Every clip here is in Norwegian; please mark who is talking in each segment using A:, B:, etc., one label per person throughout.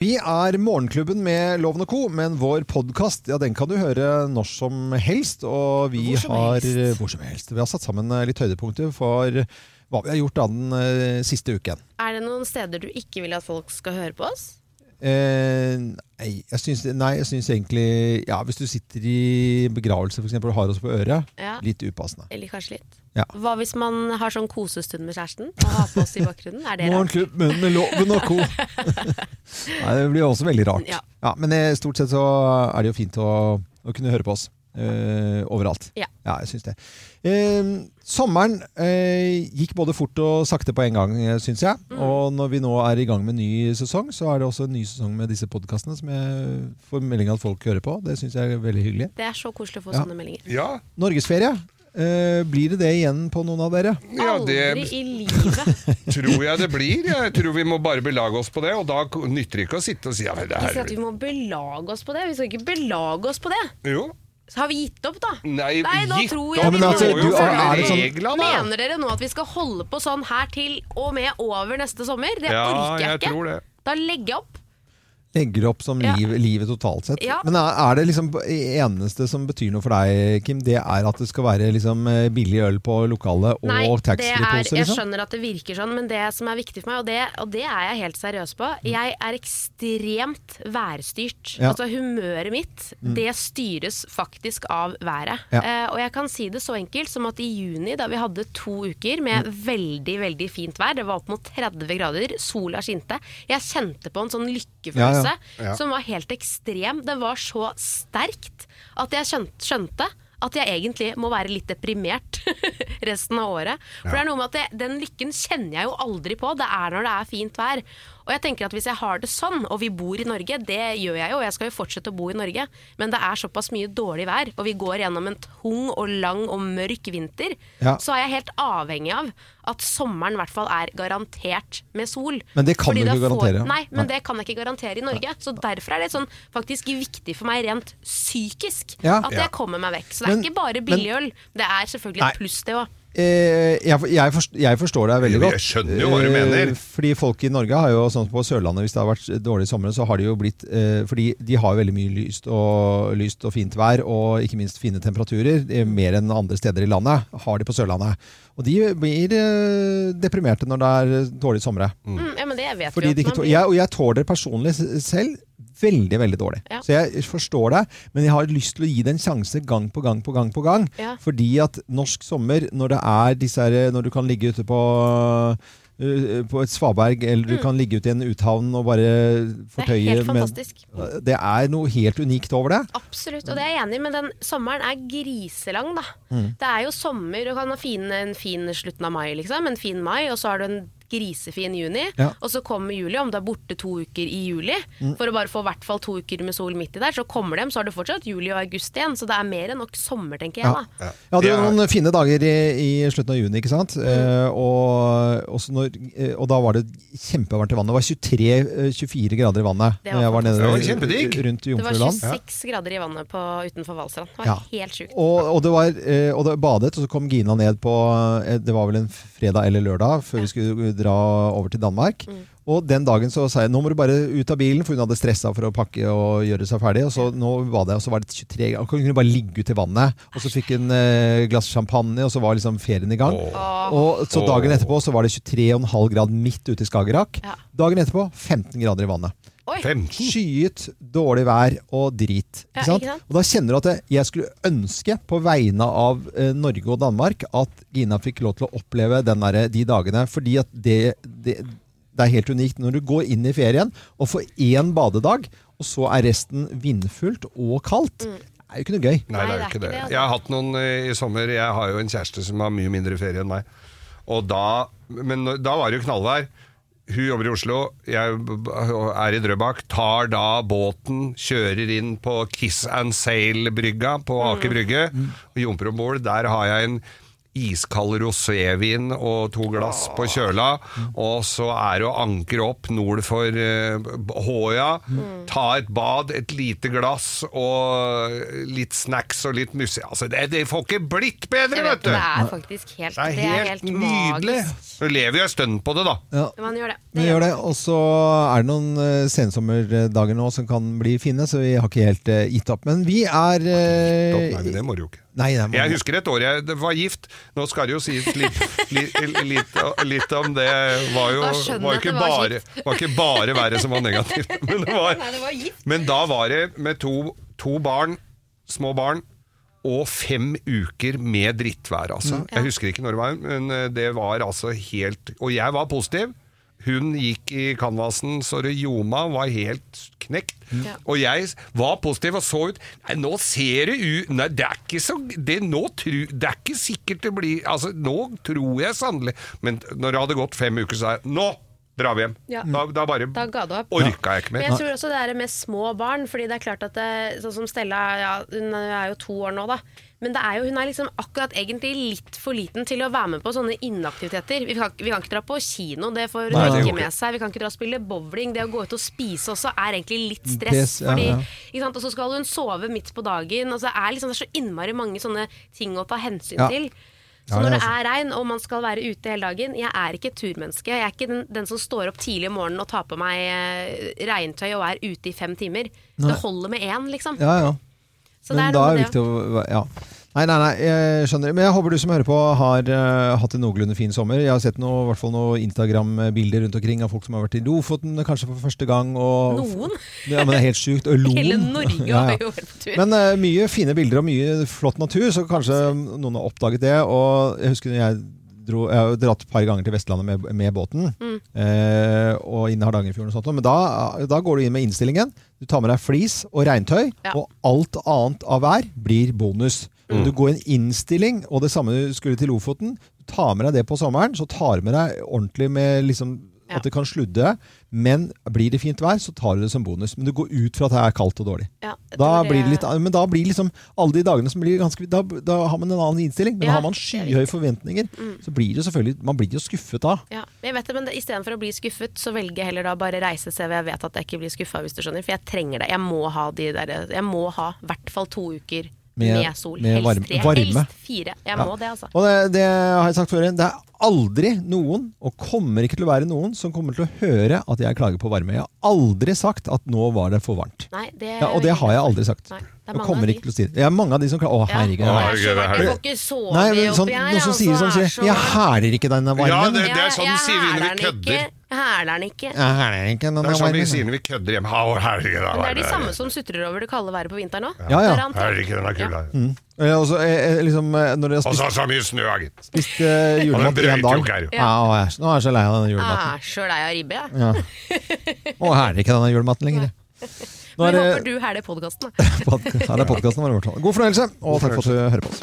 A: Vi er Morgenklubben med Loven og Co., men vår podkast ja, den kan du høre når som helst. Og vi
B: Hvor som
A: har eh,
B: helst.
A: hvor som helst. Vi har satt sammen eh, litt høydepunkter for eh, hva vi har gjort da den eh, siste uken.
B: Er det noen steder du ikke vil at folk skal høre på oss?
A: Eh, nei, jeg syns, nei, jeg syns egentlig Ja, hvis du sitter i begravelse for eksempel, og har oss på øret,
B: Ja.
A: litt upassende.
B: Eller kanskje litt?
A: Ja.
B: Hva hvis man har sånn kosestund med kjæresten og har på oss i bakgrunnen? Er det rart?
A: Morgenklubben med Loven og Co. Nei, det blir også veldig rart.
B: Ja.
A: Ja, men eh, stort sett så er det jo fint å, å kunne høre på oss. eh, overalt.
B: Ja.
A: jeg syns det. Eh, sommeren eh, gikk både fort og sakte på en gang, eh, syns jeg.
B: Mm.
A: Og når vi nå er i gang med ny sesong, så er det også en ny sesong med disse podkastene som jeg får melding at folk hører på. Det syns jeg er veldig hyggelig.
B: Det er så koselig å få
A: Ja.
B: sånne meldinger.
C: Ja,
A: Norgesferie. Eh, blir det det igjen på noen av dere?
C: ja
B: Aldri
C: det
B: i livet!
C: tror jeg det blir. Jeg tror vi må bare belage oss på det, og da k- nytter det ikke å sitte og si ja, men det
B: Ikke
C: her
B: at vi må belage oss på det. Vi skal ikke belage oss på det!
C: Jo.
B: Så har vi gitt opp, da?
C: Nei,
B: Nei, nå
C: gitt
B: tror
C: opp.
B: jeg
A: Ja, men
C: vi
A: altså,
C: må jo
A: du- er- er det
C: følge
A: sånn-
C: reglene, da.
B: Mener dere nå at vi skal holde på sånn her til og med over neste sommer? Det
C: Ja,
B: orker jeg,
C: jeg
B: ikke.
C: tror det.
B: Da legger jeg opp.
A: Legger opp som
B: Ja.
A: liv, livet totalt sett.
B: Ja.
A: Men er er det liksom eneste som betyr noe for deg, Kim, det er at det skal være liksom eh, billig øl på lokalet
B: Nei,
A: og
B: det er,
A: taxfree-pose?
B: jeg
A: Liksom?
B: skjønner at det virker sånn, men det som er viktig for meg, og det, og det er jeg helt seriøs på Jeg er ekstremt værstyrt.
A: Mm. Ja. Mm.
B: Altså humøret mitt, det styres faktisk av været.
A: Ja.
B: Eh, og jeg kan si det så enkelt som at i juni, da vi hadde to uker med
A: Mm.
B: veldig, veldig fint vær, det var opp mot 30 grader, sola skinte, jeg kjente på en sånn
A: Ja,
B: lykkefølelse
A: ja.
C: Ja.
B: som var helt ekstrem. Den var så sterkt at jeg skjønte, skjønte at jeg egentlig må være litt deprimert resten av året. For det er noe med at det, den lykken kjenner jeg jo aldri på. Det er når det er fint vær. Og jeg tenker at hvis jeg har det sånn, og vi bor i Norge, det gjør jeg jo, jeg skal jo fortsette å bo i Norge, men det er såpass mye dårlig vær, og vi går gjennom en tung og lang og mørk vinter,
A: Ja.
B: så er jeg helt avhengig av at sommeren i hvert fall er garantert med sol.
A: Men det kan
B: Fordi
A: du
B: da
A: ikke garantere.
B: Nei, men
A: Nei.
B: det kan jeg ikke garantere i Norge. Så derfor er det sånn faktisk viktig for meg rent psykisk
A: Ja.
B: at
C: Ja.
B: jeg kommer meg vekk. Så det er
A: Men-
B: ikke bare billig øl. Det er selvfølgelig
A: Nei.
B: et pluss, det òg.
A: Eh, jeg, for- jeg, forstår, jeg forstår deg veldig
C: Jo, jeg
A: godt.
C: skjønner jo hva du mener.
A: Eh, Fordi folk i Norge har jo, sånn som på Sørlandet, hvis det har vært dårlig sommer, så har de jo blitt eh, Fordi de har jo veldig mye lyst og, lyst og fint vær, og ikke minst fine temperaturer. eh, Mer enn andre steder i landet har de på Sørlandet. Og de blir eh, deprimerte når det er eh, dårlig somre.
B: Mm, ja, men det vet
A: Fordi
B: vi
A: de
B: jo
A: ikke
B: at
A: tå-
B: man
A: jeg, og jeg tåler det personlig s- selv veldig veldig dårlig.
B: Ja.
A: Så jeg forstår deg, men jeg har lyst til å gi det en sjanse gang på gang på gang. på gang.
B: Ja.
A: Fordi at norsk sommer, når det er disse her, når du kan ligge ute på øh, på et svaberg, eller du kan ligge ute i en uthavn og bare
B: blir Mm. Det
A: fortøye
B: er helt
A: men-
B: fantastisk.
A: Det er noe helt unikt over det.
B: Absolutt, og det er jeg enig i, men den sommeren er griselang, da.
A: Mm.
B: Det er jo sommer, du kan ha fin, en fin slutten av mai, liksom. En fin mai, og så har du en grisefin juni.
A: Ja. Mm.
B: Og så kommer juli, om du er borte to uker i juli, for å bare få i hvert fall to uker med sol midt i der, så kommer dem, så har du fortsatt juli og august igjen. Så det er mer enn nok sommer, tenker jeg,
A: Ja.
B: da.
C: Ja.
A: Jeg hadde jo
C: Det er- Mm.
A: noen fine dager i, i slutten av juni, ikke sant? Eh, og, også når, eh, og da var det kjempevarmt i vannet. Det var 23-24 grader i vannet
B: Det
A: når jeg
B: var
A: var nede
C: fantastisk. Det var kjempedigg.
A: rundt
B: Det var
A: Jomfruland.
B: 26 grader i vannet på, utenfor Valstrand. Det var
A: Ja.
B: helt sjukt.
A: Og, og, det var, eh, og det badet, og så kom Gina ned på eh, Det var vel en fredag eller lørdag før vi skulle dra over til Danmark.
B: Mm.
A: Og den dagen så sa jeg nå må du bare ut av bilen, for hun hadde stressa for å pakke og gjøre seg ferdig. Og så nå var det, og så var det 23 grader. Hun kunne bare ligge ute i vannet. Og så fikk hun eh, glass champagne, og så var liksom ferien i gang. Og så dagen etterpå så var det 23,5 grad midt ute i Skagerrak.
B: Ja.
A: Dagen etterpå 15 grader i vannet.
B: Oi!
C: 15.
A: Skyet, dårlig vær og drit.
B: Ja,
A: Ikke sant?
B: ikke sant?
A: Og da kjenner du at jeg- jeg skulle ønske på vegne av eh, Norge og Danmark at Gina fikk lov til å oppleve den derre- de dagene, fordi at det, det, det er helt unikt. Når du går inn i ferien og får én badedag, og så er resten vindfullt og kaldt,
B: Mm.
A: det er jo ikke noe gøy.
C: Nei, det er jo ikke det.
B: altså.
C: Jeg har hatt noen eh, i sommer Jeg har jo en kjæreste som har mye mindre ferie enn meg. Og da, men når- da var det jo knallvær. Hun jobber i Oslo, jeg b- er i Drøbak. Tar da båten, kjører inn
B: Mm.
C: Mm. på Kiss and Sail-brygga på Aker Brygge. Og jumper om bord. Der har jeg en iskald rosévin og to glass
B: Ah.
C: på kjøla, og så er det å ankre opp nord for eh, Håøya,
B: Mm.
C: ta et bad, et lite glass og litt snacks og litt musikk. Altså, det, det får ikke blitt bedre,
B: Jeg vet,
C: vet du!
B: det er faktisk helt,
C: Det er helt, nydelig.
B: magisk.
C: Du lever jo en stund på det, da.
A: Ja.
B: Man gjør det.
A: Vi gjør det, og så er det noen eh, sensommerdager nå som kan bli fine, så vi har ikke helt eh, gitt opp. Men vi er
C: Nei,
A: eh,
C: men det må du jo ikke.
A: Nei, det er
C: Jeg husker et år jeg var gift. Nå skal det jo sies litt, litt, litt, litt om det. Var jo
B: Da skjønner
C: var
B: jeg at
C: ikke
B: det var
C: bare, var ikke bare været som var negativt. Men, det
B: Nei, det var
C: var,
B: gift.
C: men da var det med to, to barn, små barn, og fem uker med drittvær,
B: Mm,
C: altså. Jeg husker ikke når det var, men eh, det var altså helt Og jeg var positiv. Hun gikk i canvasen så det ljoma, var helt knekt.
B: Mm. Ja.
C: Og jeg var positiv og så ut Nei, nå ser det ut Nei, det er ikke så det, nå tru, det er ikke sikkert det blir Altså, nå tror jeg sannelig Men når det hadde gått fem uker, så er jeg Nå drar vi hjem!
B: Ja.
C: Da, da bare
B: Da ga det opp.
C: orka jeg ikke
B: Mm. Men
C: mer.
B: jeg tror også det er med små barn, fordi det er klart at det, sånn som Stella ja, Hun er jo to år nå, da. Men det er jo, hun er liksom akkurat egentlig litt for liten til å være med på sånne inneaktiviteter. Vi kan, vi kan ikke dra på kino, det får hun
A: Nei, det
B: ikke
C: går
B: med seg. Vi kan ikke dra og spille bowling. Det å gå ut og spise også er egentlig litt stress.
A: Press, ja,
B: fordi,
A: ja.
B: Ikke sant? Og så skal hun sove midt på dagen. Altså, det, er liksom, det er så innmari mange sånne ting å ta hensyn
A: Ja.
B: til.
A: Ja,
B: Så
A: det er
B: når det
A: sant.
B: er regn og man skal være ute hele dagen Jeg er ikke et turmenneske. Jeg er ikke den, den som står opp tidlig om morgenen og tar på meg eh, regntøy og er ute i fem timer. Det holder med én, liksom.
A: Ja, ja.
B: Så
A: Men
B: det er
A: da
B: noe
A: er det
B: med
A: viktig å ja. Nei, nei, nei, jeg skjønner. Men jeg håper du som hører på har eh, hatt en noenlunde fin sommer. Jeg har sett noe, i hvert fall noen Instagram-bilder rundt omkring av folk som har vært i Lofoten kanskje for første gang. Og,
B: Noen?
A: Ja, men det er helt sjukt. Og Loen.
B: Hele Norge
A: Ja, ja.
B: har jo vært på tur.
A: Men eh, mye fine bilder og mye flott natur, så kanskje noen har oppdaget det. Og jeg husker når jeg dro Jeg har jo dratt et par ganger til Vestlandet med, med båten.
B: Mm.
A: eh, og inn i Hardangerfjorden og sånt. Men da, da går du inn med innstillingen. Du tar med deg flis og regntøy,
B: Ja.
A: og alt annet av vær blir bonus. Du går i en innstilling, og det samme du skulle til Lofoten. Du tar med deg det på sommeren, så tar du med deg ordentlig med liksom
B: Ja.
A: at det kan sludde. Men blir det fint vær, så tar du det som bonus. Men du går ut fra at det er kaldt og dårlig.
B: Ja, jeg
A: Da
B: tror
A: blir det litt, men da blir liksom alle de dagene som blir ganske Da, da har man en annen innstilling, men
B: Ja,
A: har man
B: det er Mm.
A: skyhøye forventninger, så blir det selvfølgelig Man blir jo skuffet da.
B: ja, jeg vet det, men det- istedenfor å bli skuffet, så velger jeg heller da bare reise se hvor jeg vet at jeg ikke blir skuffa, hvis du skjønner. For jeg trenger det. Jeg må ha de der Jeg må ha i hvert fall to uker med,
A: Med-
B: sol.
A: med
B: helst
A: varme-
B: tre,
A: varme.
B: helst fire. Jeg må det, altså.
A: Og det, det har jeg sagt før igjen, det er aldri noen, og kommer ikke til å være noen, som kommer til å høre at jeg klager på varme. Jeg har aldri sagt at nå var det for varmt.
B: Nei, det
A: Ja, og det har jeg aldri sagt.
B: Nei, det er
A: og
B: mange av
A: kommer
B: de.
A: ikke til å si det. Jeg er mange av de som klager Å,
B: Ja.
A: herregud. det
B: Å,
A: er-
C: herregud, det er
B: Jeg får ikke sove
A: Nei, men sånn,
B: oppi her,
A: noen som
B: altså,
A: sier sånn,
B: er
A: sier
B: så-
A: Jeg hæler ikke denne varmen.
C: Ja, det, det er
B: Jeg-
C: sånn vi
B: jeg
C: sier vi når vi
B: hæler den
C: kødder.
B: ikke. Jeg hæler den ikke.
A: Jeg hæler ikke
C: Det
A: denne
C: er sånn vi
A: varmen. liksom.
C: sier når vi kødder hjemme. Ha, herregud, da
B: Men det er
C: var
B: de samme som sutrer over det kalde været på vinteren òg.
A: Ja, ja.
C: Herregud, den er kul. da.
A: Eh, Og så eh, eh, liksom eh, Når dere har
C: Og
A: spist,
C: så så mye snø, gitt.
A: spist eh,
C: Og den
A: julemat i en
C: brøyter jo
A: dag
C: ikke her, jo.
A: ja, å, jeg, Nå er jeg så lei av denne julematen.
B: Er Ah, så lei av ribbe, jeg.
A: Ja. Og hæler ikke denne julematen lenger. Nå
B: Men
A: er det,
B: håper du hæler podkasten, da.
A: her er podkasten vår. i hvert fall. God fornøyelse, og takk for at du hører på oss.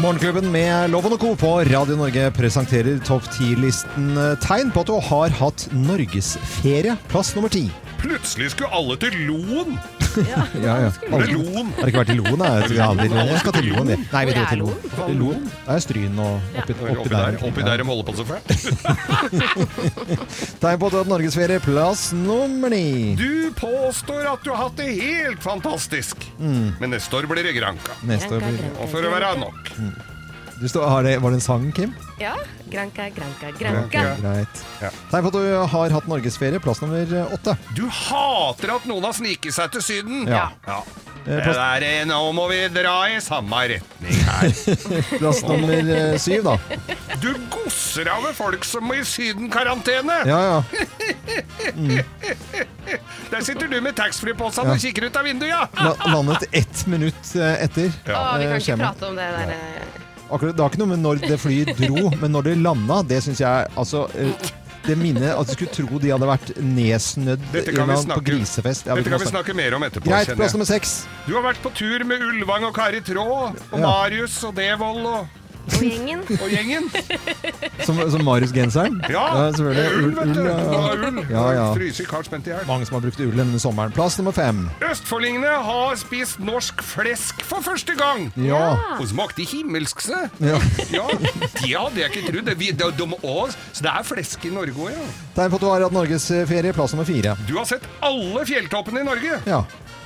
A: Morgenklubben med Loven og Co. på Radio Norge presenterer topp 10-listen tegn på at du har hatt norgesferie. Plass nummer ti.
C: Plutselig skulle alle til Loen!
A: Ja, ja.
C: Eller
A: Aldri-
C: Loen!
A: Har det ikke vært i Loen? Jeg, jeg, aldri, jeg skal til Loen. jeg. Nei, vi
B: Hvor
A: dro
B: er
A: til Loen. Loen? Det er Stryn og oppi,
C: Oppi,
A: oppi
C: der,
A: der.
C: oppi der de holder på så fælt.
A: Tegn på at du har hatt norgesferie. Plass nummer ni.
C: Du påstår at du har hatt det helt fantastisk,
A: Mm.
C: men neste år blir det Granca.
A: Neste år blir
B: Granca,
A: det.
B: Granca,
C: Og for å være nok
A: Mm. Du står, har det, var det en sang, Kim?
B: Ja, granka, granka,
A: Ok,
B: granka.
A: Greit.
C: Ja.
A: Tegn på at du har hatt norgesferie. Plass nummer åtte.
C: Du hater at noen har sniket seg til Syden!
A: Ja.
C: Det
A: plass-
C: der, eh, nå må vi dra i samme retning her.
A: Plass nummer eh, syv, da.
C: Du gosser av med folk som må i Syden-karantene!
A: Ja, ja.
C: Der sitter du med taxfree-posen og kikker ut av vinduet, ja!
A: La, landet ett minutt eh, etter.
B: Å, vi
A: Eh,
B: kan ikke
A: skjema.
B: prate om det der eh.
A: Akkurat, det har ikke noe med når det flyet dro, men når det landa, det syns jeg altså eh, det minnet at du skulle tro de hadde vært nedsnødd
C: Dette kan
A: i
C: vi
A: land på
C: snakke,
A: grisefest. Ja, vi
C: dette
A: må
C: kan vi snakke mer om etterpå.
A: Greit,
C: kjenner jeg.
A: plass nummer seks.
C: Du har vært på tur med Ulvang og Kari Traa og
A: Ja.
C: Marius og Devold og
B: og gjengen.
C: Og gjengen!
A: Som, som Marius-genseren?
C: Ja,
A: selvfølgelig.
C: ull, vet du.
A: ja.
C: Det var ull.
A: Ja, ja.
C: Fryser Carl spent i hjel.
A: Mange som har brukt ull denne sommeren. Plass nummer fem.
C: Østfoldingene har spist norsk flesk for første gang!
A: Ja.
C: Og smakte himmelsk, se!
A: ja.
C: Ja, det hadde jeg ikke trodd. Det- vi- det- de- å, Så det er flesk i Norge òg, ja.
A: Tegn på at du har hatt norgesferie. Plass nummer fire.
C: Du har sett alle fjelltoppene i Norge
A: Ja.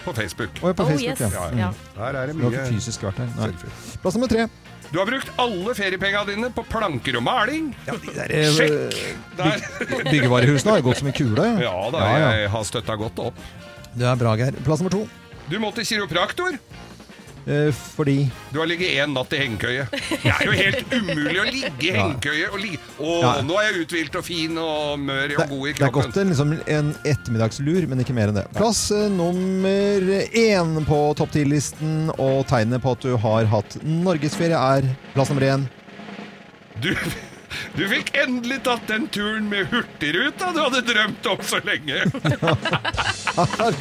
C: på Facebook.
A: Og på
B: Oh
A: Facebook,
B: yes.
A: ja.
B: Ja.
C: Der er det
A: Du har ikke
C: mye
A: fysisk vært der. Nei.
C: Selvfølgelig.
A: Plass nummer tre.
C: Du har brukt alle feriepengene dine på planker og maling. eh, Sjekk! Der.
A: Byggevarehusene har jo gått som en kule.
C: Ja da,
A: ja.
C: jeg har støtta godt opp.
A: Det er bra, Geir. Plass nummer to.
C: Du må til kiropraktor.
A: Eh, fordi
C: Du har ligget én natt i hengekøye. Det er jo helt umulig å ligge i hengekøye og ligge Å,
A: Ja.
C: nå er jeg uthvilt og fin og mør og
A: det,
C: god
A: det
C: i
A: er
C: kroppen.
A: godt en, liksom, en ettermiddagslur, men ikke mer enn det. Plass eh, nummer én på topp 10-listen, og tegnet på at du har hatt norgesferie, er plass nummer én.
C: Du, du fikk endelig tatt den turen med Hurtigruta du hadde drømt om så lenge.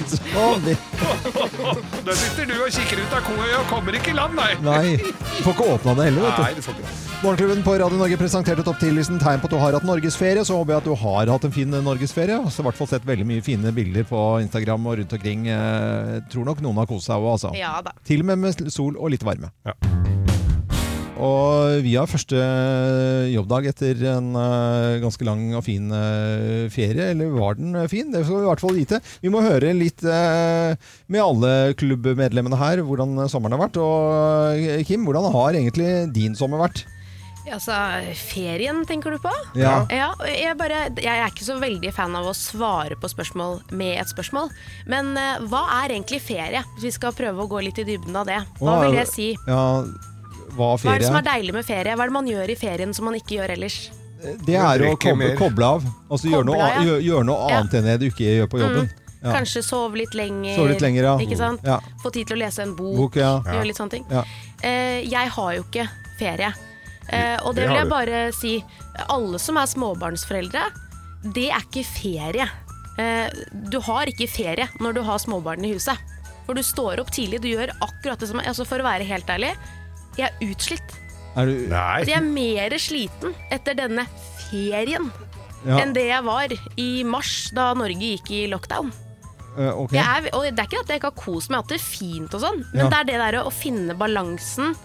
A: Så vidt.
C: Der sitter du og kikker ut av koøya og kommer ikke i land, nei.
A: Nei, du får ikke åpna det heller, vet du.
C: Nei, du får ikke det.
A: Morgenklubben på Radio Norge presenterte topp 10-listen tegn på at du har hatt norgesferie. Så håper jeg at du har hatt en fin eh, norgesferie. Og så i hvert fall sett veldig mye fine bilder på Instagram og rundt omkring. Eh, tror nok noen har kost seg òg, altså.
B: Ja da.
A: Til og med med sol og litt varme.
C: Ja.
A: Og vi har første eh, jobbdag etter en eh, ganske lang og fin eh, ferie. Eller var den eh, fin? Det skal vi i hvert fall vite. Vi må høre litt eh, med alle klubbmedlemmene her hvordan sommeren har vært. Og eh, Kim, hvordan har egentlig din sommer vært?
B: Altså, ferien tenker du på?
A: Ja.
B: ja jeg, bare, jeg er ikke så veldig fan av å svare på spørsmål med et spørsmål. Men eh, hva er egentlig ferie? Hvis vi skal prøve å gå litt i dybden av det. Hva vil det si?
A: Ja, hva
B: Hva er
A: ferie
B: det som er deilig med ferie? Hva er det man gjør i ferien som man ikke gjør ellers?
A: Det er å
C: Drikke
A: koble,
C: mer.
A: koble av. Altså gjøre noe,
B: Koble av, ja.
A: gjør, gjør noe
B: Ja. Mm.
A: annet enn det du ikke gjør på jobben. Ja.
B: Kanskje sove litt lenger.
A: Sove litt lenger, ja.
B: Ikke sant?
A: Ja.
B: Få tid til å lese en bok.
A: Bok, ja.
B: Gjøre litt sånne ting.
A: Ja.
B: Eh, jeg har jo ikke ferie. Eh, og det,
C: Det
B: vil
C: har
B: jeg
C: du.
B: bare si. Alle som er småbarnsforeldre, det er ikke ferie. Eh, du har ikke ferie når du har småbarn i huset. For du står opp tidlig, du gjør akkurat det som altså For å være helt ærlig, jeg er utslitt.
A: Er du,
C: Nei.
B: Altså, jeg er mer sliten etter denne ferien
A: ja,
B: enn det jeg var i mars, da Norge gikk i lockdown.
A: eh, ok.
B: Jeg er, og det er ikke at jeg ikke har kost meg, at det er fint og sånn, men
A: Ja. Mm.
B: det er det der å finne balansen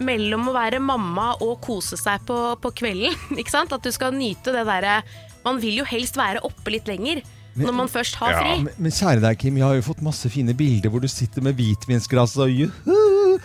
B: mellom å være mamma og kose seg på, på kvelden. Ikke sant? At du skal nyte det derre Man vil jo helst være oppe litt lenger når man først har
C: Ja,
B: fri.
A: Men, men kjære deg, Kim, jeg har jo fått masse fine bilder hvor du sitter med hvitvinsglasset og juhu!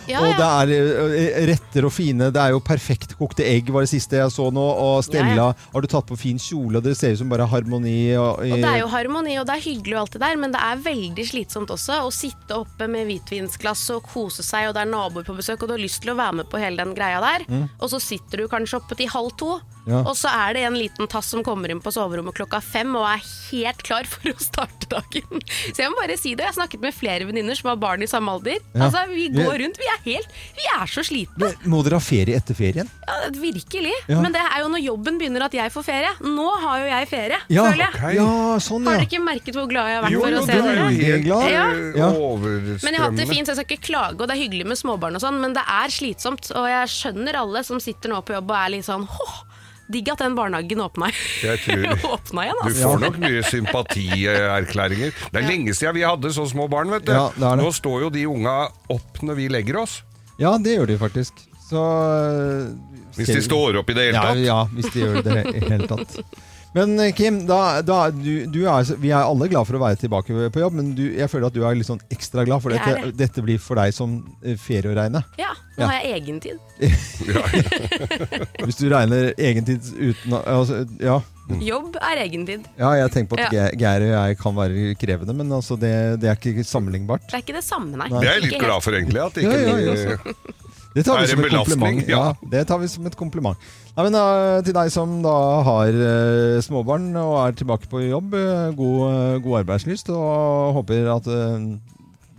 B: Ja,
A: og det
B: ja.
A: er eh, retter og fine Det er jo perfekt kokte egg, var det siste jeg så nå. Og Stella
B: Ja,
A: har du tatt på fin kjole, og det ser ut som bare harmoni. Og,
B: Og det er jo harmoni, og det er hyggelig og alt det der, men det er veldig slitsomt også å sitte oppe med hvitvinsglass og kose seg, og det er naboer på besøk, og du har lyst til å være med på hele den greia der. Og så sitter du kanskje oppe til halv to,
A: Mm. Ja.
B: og så er det en liten tass som kommer inn på soverommet klokka fem og er helt klar for å starte dagen. Så jeg må bare si det, jeg har snakket med flere venninner som har barn i samme alder.
A: Ja.
B: Altså, vi går rundt, vi er helt Vi er så slitne.
A: Men Må dere ha ferie etter ferien?
B: Ja, virkelig.
A: Ja.
B: Men det er jo når jobben begynner at jeg får ferie. Nå har jo jeg ferie,
A: Ja,
B: føler jeg.
A: ja sånn,
B: Har
A: ja.
B: dere ikke merket hvor glad jeg har vært
C: Jo,
B: for
C: jo,
B: å
C: du
B: se
C: er
B: dere?
C: jo helt
A: glad.
B: Ja.
C: eh,
A: Ja.
C: overstrømmende.
B: Men jeg har hatt det fint, så jeg skal ikke klage, og det er hyggelig med småbarn og sånn, men det er slitsomt. Og jeg skjønner alle som sitter nå på jobb og er litt sånn åh, digg at den barnehagen åpna
C: Jeg tror-
B: åpna igjen,
C: Du
B: altså.
C: får nok mye sympatierklæringer. Det er lenge siden vi hadde så små barn, vet du.
A: Ja, det er det.
C: Nå står jo de unga opp når vi legger oss.
A: Ja, det gjør de faktisk. Så eh,
C: Hvis
A: ser
C: de
A: vi-
C: står opp i det hele tatt.
A: Ja, ja hvis de gjør det i hele tatt. Men eh, Kim, da, da, du, du er, vi er alle glad for å være tilbake på jobb, men du, jeg føler at du er litt sånn ekstra glad, for
B: Jeg er
A: dette, dette blir for deg som eh, ferie å regne.
B: Ja,
A: Ja.
B: nå har jeg egentid.
A: Hvis du regner egentid uten å- altså, ja.
C: Mm.
B: Jobb er egentid.
A: ja, jeg tenker på at Ge- Geir og jeg kan være krevende, men altså det, det er ikke sammenlignbart.
B: Det er ikke det samme, nei.
A: Nei.
C: Det er jeg
B: Ikke
C: litt
B: helt.
C: glad for, egentlig. At
A: Ja,
C: ikke eh,
A: ja, ja,
C: vi-
A: Det tar vi
C: Det er
A: som
C: en
A: et kompliment.
C: belastning, ja.
A: Ja, det tar vi som et kompliment. Nei, men eh, Til deg som da har eh, småbarn og er tilbake på jobb, eh, god, eh, god arbeidslyst og håper at eh,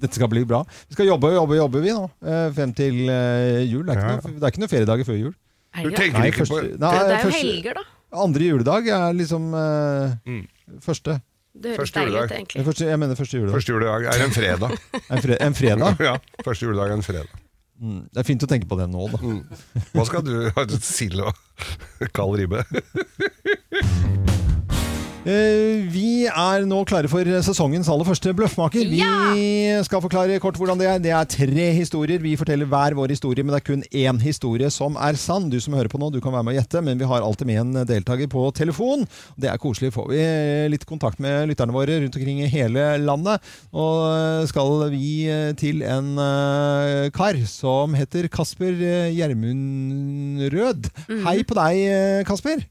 A: dette skal bli bra. Vi skal jobbe og jobbe, og jobbe vi nå, eh, frem til eh, jul. Det er,
C: Ja.
A: ikke noe, det er ikke noe feriedager før jul.
B: Er det
C: Du
B: det?
C: tenker ikke på
A: nei,
B: Det er jo
A: første-
B: helger, da.
A: Andre juledag er liksom eh,
C: Mm.
A: første.
B: Det høres
C: Første
B: deilig ut,
C: juledag.
A: Eh,
B: egentlig.
A: første. Jeg mener første juledag.
C: Første juledag er en fredag.
A: En, fre en fredag.
C: Ja, første juledag er en fredag.
A: Mm, Det er fint å tenke på det nå, da.
C: Hva skal du ha? Sild og kald ribbe?
A: Eh, Vi er nå klare for sesongens aller første bløffmaker. Vi skal forklare kort hvordan det er. Det er tre historier. Vi forteller hver vår historie, men det er kun én historie som er sann. Du som hører på nå, du kan være med og gjette, men vi har alltid med en deltaker på telefon. Det er koselig. Får vi eh, litt kontakt med lytterne våre rundt omkring i hele landet. Og eh, skal vi til en eh, kar som heter Kasper eh, Gjermundrød. Hei på deg, eh, Kasper.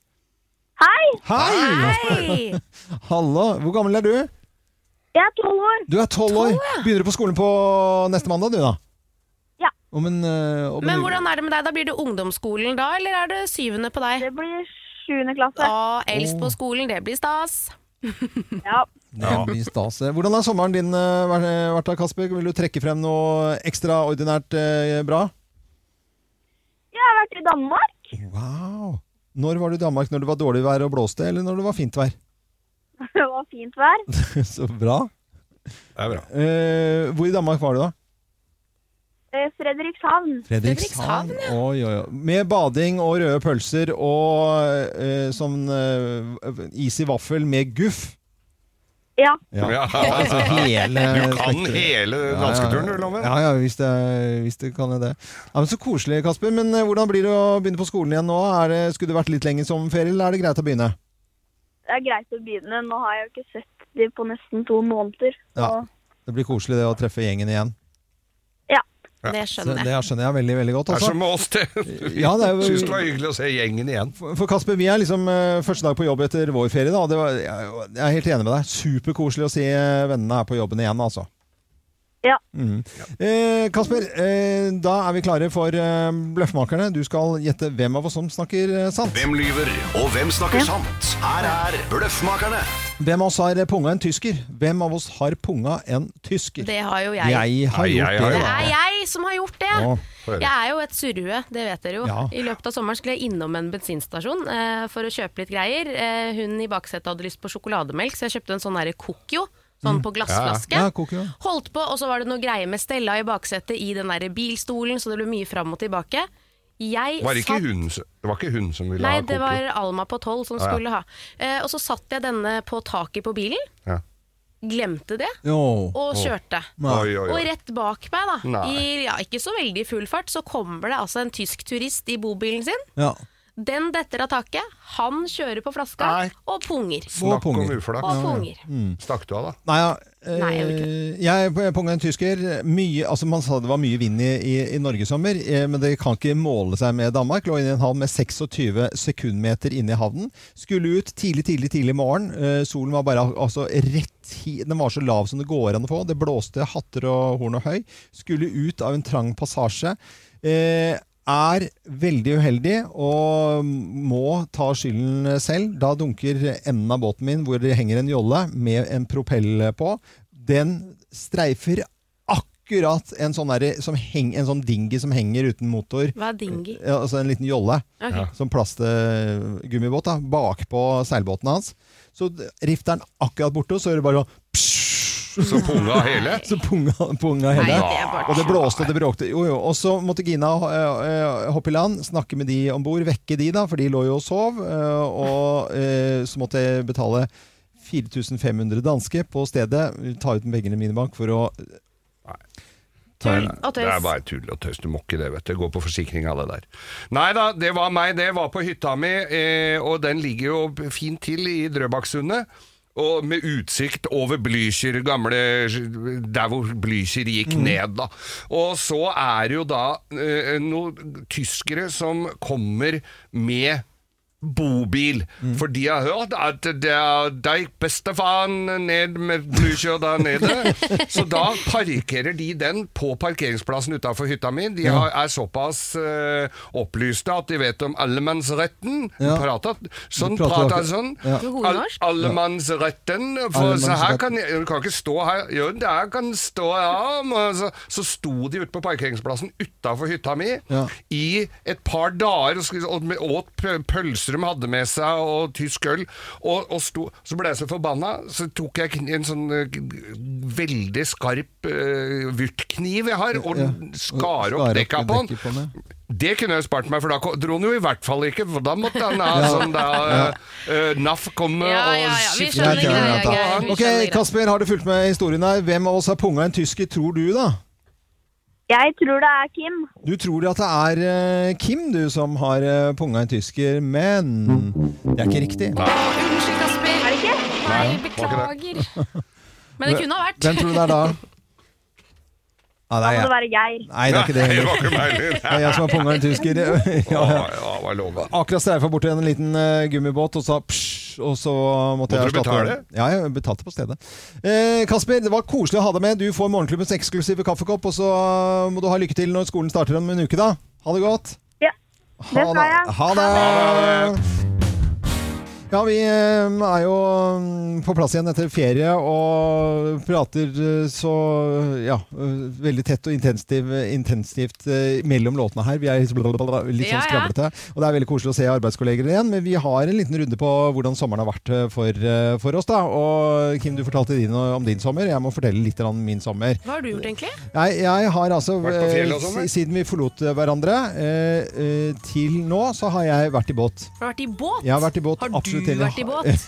D: Hei,
A: Hei!
B: Hei!
A: Hallo, hvor gammel er du?
D: jeg er tolv år.
A: Du er tolv år. Begynner du på skolen på neste mandag, du da?
D: Ja.
A: Om en, eh, om en
B: Men
A: uke.
B: hvordan er det med deg? Da Blir det ungdomsskolen da, eller er det syvende på deg?
D: Det blir sjuende klasse.
B: Å, eldst på skolen, det blir stas.
D: Ja.
A: Det blir stas. Hvordan har sommeren din eh, vært- vært da, Kasper? Vil du trekke frem noe ekstraordinært eh, bra?
D: Jeg har vært i Danmark.
A: Wow. Når var du i Danmark? Når det var dårlig vær og blåste, eller når det var fint vær?
D: Det var fint vær.
A: Så bra.
C: Det er bra.
A: Eh, hvor i Danmark var du da?
D: Eh, Fredrikshavn.
B: Fredrikshavn,
A: Oi, oi, oi. Med bading og røde pølser og eh, sånn eh, is i vaffel med guff.
D: Ja.
A: Ja.
C: Ja.
A: Altså hele
C: Du kan hele dansketuren, du, Loven.
A: Ja, ja, hvis det, hvis det kan jeg det. Ja, men Så koselig, Kasper. Men eh, hvordan blir det å begynne på skolen igjen nå? Er det, skulle det vært litt lenger sommerferie, eller er det greit å begynne?
D: Det er greit å begynne. Nå har jeg jo ikke sett dem på nesten to måneder. Så
A: Ja. Det blir koselig det å treffe gjengen igjen.
B: Det
A: Så
B: skjønner jeg.
A: det skjønner jeg veldig veldig godt.
C: Det er
A: Altså.
C: som med oss, det.
A: Ja, det er
C: Syns det
A: jo,
C: var hyggelig å se gjengen igjen.
A: for Kasper, vi er liksom eh, første dag på jobb etter vår ferie. da. Det var, jeg er jo- jeg er helt enig med deg. Superkoselig å se eh, vennene her på jobben igjen, altså.
D: Ja.
A: Mm. Eh, Kasper, eh, da er vi klare for eh, Bløffmakerne. Du skal gjette hvem av oss som snakker eh, sant.
E: Hvem lyver, og hvem snakker sant? Her er Bløffmakerne.
A: Hvem av oss har punga en tysker? Hvem av oss har punga en tysker?
B: Det har jo jeg.
A: Jeg har
C: Ai, ai,
A: gjort
C: ai,
A: det.
B: Det
C: ai.
B: er jeg som har gjort det!
A: Å,
C: høre.
B: Jeg er jo et surrue, det vet dere jo.
A: Ja.
B: I løpet av sommeren skulle jeg innom en bensinstasjon eh, for å kjøpe litt greier. Eh, hun i baksetet hadde lyst på sjokolademelk, så jeg kjøpte en sånn derre Cookio.
C: Mm.
B: Sånn på glassflaske.
A: Ja, Cookio.
B: Holdt på, og så var det noe greie med Stella i baksetet i den derre bilstolen, så det ble mye fram og tilbake. Jeg
C: Var det ikke
B: satt
C: hun, som- det var ikke hun som ville
B: Nei,
C: ha
B: det
C: kokio?
B: var Alma på tolv som
C: ja.
B: skulle ha. Eh, og så satt jeg denne på taket på bilen,
C: Ja.
B: glemte det,
A: Jo.
B: og kjørte.
C: Oi, oi,
B: Og
C: oi.
B: rett bak meg, da,
C: Nei.
B: i ja, ikke så veldig full fart, så kommer det altså en tysk turist i bobilen sin.
A: Ja.
B: Den detter av taket, han kjører på flaska
C: Nei.
B: og punger.
C: Snakk om
A: punger.
B: Og
C: uflaks. Mm.
B: punger.
C: Stakk du av, da?
A: Nei, ja.
B: Nei, jeg gjorde
A: eh, jeg punga en tysker. Mye, altså man sa det var mye vind i, i, i Norge i sommer, eh, men det kan ikke måle seg med Danmark. Lå inne i en havn med 26 sekundmeter inne i havnen. Skulle ut tidlig, tidlig tidlig morgen. Eh, solen var bare altså, rett hi, Den var så lav som det går an å få. Det blåste hatter og horn og høy. Skulle ut av en trang passasje. Eh, er veldig uheldig og må ta skylden selv. Da dunker enden av båten min, hvor det henger en jolle med en propell på. Den streifer akkurat en sånn, derre som heng, en sånn dingy som henger uten motor.
B: Hva er dingi?
A: Ja, altså en liten jolle.
B: Ok.
A: Som plastgummibåt da, bakpå seilbåten hans. Så d- rifter den akkurat borte, og så hører du bare sånn pssst,
C: Så punga hele?
A: Så punga, punga hele.
B: Nei, det er
A: Og
B: bare
A: det blåste og det bråkte. Jo, jo. Og så måtte Gina eh, eh, hoppe i land, snakke med de om bord, vekke de, da, for de lå jo og sov. eh, og eh, så måtte jeg betale 4500 danske på stedet. Ta ut pengene mine i bank for å eh,
B: Tull
C: Nei,
B: og
C: Det er
B: tøys.
C: bare tull og tøys. Du må ikke det, vet du. Gå på forsikring, alle der. Nei da, det var meg. Det var på hytta mi, eh, og den ligger jo fint til i Drøbaksundet. Og med utsikt over Blücher, gamle Der hvor Blücher gikk ned, da. Og så er det jo da eh, noen tyskere som kommer med bobil. For de har hørt at det er deg, bestefaren, ned med Blücher der nede. Så da parkerer de den på parkeringsplassen utafor hytta mi. De har, er såpass eh, opplyste at de vet om allemannsretten.
A: Ja.
C: Prater, sånn
A: De prater
C: prater
A: akkurat-
C: sånn.
A: Ja.
B: God
C: Al
B: norsk.
C: allemannsretten. For så her
A: Allemannsretten.
C: kan jeg, du kan ikke stå her. Jo, der kan stå ja, men så, så sto de ute på parkeringsplassen utafor hytta mi
A: Ja.
C: i et par dager og, skulle- og med- åt pø- pølse bukser de hadde med seg, og tysk øl. Og, og sto, så ble jeg så forbanna, så tok jeg kn- en sånn eh, veldig skarp uh, vurtkniv jeg har, og
A: Ja.
C: skar opp
A: Skar
C: dekka på
A: dekket
C: den.
A: den, ja.
C: Det kunne jeg spart meg, for da ko- dro han jo i hvert fall ikke. For da måtte han ha sånn da eh, eh, NAF komme
B: Ja, ja, ja,
C: og
B: vi
C: skifte
A: Ja,
B: skjønner
A: ja, ja, ja.
B: greia,
C: dekka.
B: Geir. Vi
A: Ok,
B: skjønner greia.
A: Kasper, har du fulgt med historien her? Hvem av oss har punga en tysker, tror du da?
D: Jeg tror det er Kim.
A: Du tror at det er eh, Kim du som har eh, punga en tysker, men det er ikke riktig.
B: Unnskyld, Kasper.
D: Er det ikke?
B: Nei,
C: var
B: beklager. Men det kunne ha vært.
A: Hvem tror du det er da? Ja, det er
D: Da må det
A: jeg.
D: være Geir.
A: Nei, det er ikke det
C: Nei, det
A: heller.
C: var ikke meg heller.
A: Det er jeg som har punga en tysker. Ja, ja.
C: Å, ja, det var lov.
A: Akkurat streifa borti en liten eh, gummibåt og sa psj, og så måtte
C: Måtte
A: jeg
C: du betale?
A: den. Ja, jeg betalte på stedet. Eh, Kasper, det var koselig å ha deg med. Du får morgenklubbens eksklusive kaffekopp, og så må du ha lykke til når skolen starter om en uke, da. Ha det godt.
D: Ja.
A: Ha
D: Det skal jeg.
A: Ha det. Ja, vi eh, er jo mm, på plass igjen etter ferie og prater eh, så ja, eh, veldig tett og intensivt, intensivt eh, mellom låtene her. Vi er litt litt
B: Ja,
A: sånn
B: ja.
A: skravlete. Og det er veldig koselig å se arbeidskolleger igjen, men vi har en liten runde på hvordan sommeren har vært eh, for, eh, for oss. da. Og Kim, du fortalte din, eh, om din sommer. Jeg må fortelle litt om min sommer.
B: Hva har du gjort, egentlig?
A: Nei, jeg har altså
C: Vært på fjellet og sånn,
A: eh,
C: eller?
A: si- Siden vi forlot eh, hverandre eh, eh, til nå, så har jeg vært i båt.
B: Har du vært i båt?
A: Jeg har vært i båt,
B: Har
A: absolutt
B: du
A: hele-
B: vært i båt?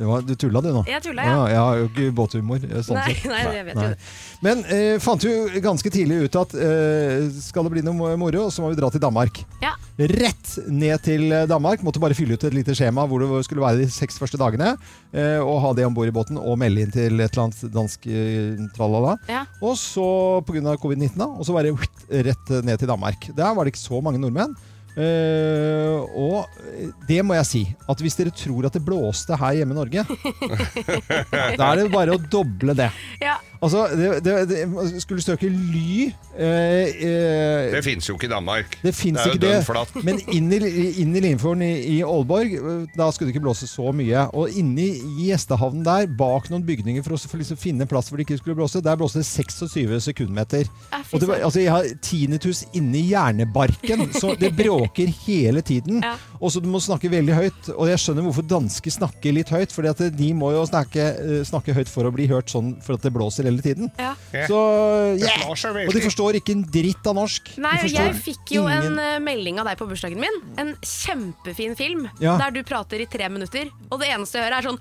A: Det var, du tulla du nå?
B: Jeg tulla, ja.
A: jeg har jo ikke båthumor. eh, Sånn
B: Nei,
A: sett.
B: nei, det vet
A: Nei.
B: jeg.
A: Men eh, fant jo ganske tidlig ut at eh, skal det bli noe moro, så må vi dra til Danmark.
B: Ja.
A: Rett ned til eh, Danmark. Måtte bare fylle ut et lite skjema hvor det skulle være de seks første dagene. eh, Og ha det om bord i båten og melde inn til et eller annet dansk eh, tralala.
B: Ja.
A: Og så pga. covid-19, da, og så bare whitt, rett ned til Danmark. Der var det ikke så mange nordmenn. Eh, og det må jeg si, at hvis dere tror at det blåste her hjemme i Norge, da er det bare å doble det.
B: Ja.
A: Altså, det, det, det skulle søke ly eh, eh,
C: Det fins jo ikke i Danmark.
A: det fins
C: er jo
A: ikke det.
C: dønn flatt.
A: Men inn i, inn i Limfjorden i, i Aalborg, øh, da skulle det ikke blåse så mye. Og inne i gjestehavnen der, bak noen bygninger for å s- for liksom finne plass hvor det ikke skulle blåse, der blåste det 26 sekundmeter.
B: Ja, fy
A: Og det var,
B: søren.
A: altså, jeg har tinnitus inni hjernebarken, så det bråker hele tiden.
B: Ja.
A: Og så du må snakke veldig høyt. Og jeg skjønner hvorfor dansker snakker litt høyt, for de må jo snakke, øh, snakke høyt for å bli hørt sånn for at det blåser hele tiden.
B: Ja.
A: Så, ja.
C: slår seg veldig.
A: Og de forstår ikke en dritt av norsk. De
B: Nei,
A: forstår
B: jeg fikk jo
A: ingen-
B: en eh, melding av deg på bursdagen min. En kjempefin film
A: Ja.
B: der du prater i tre minutter, og det eneste jeg hører, er sånn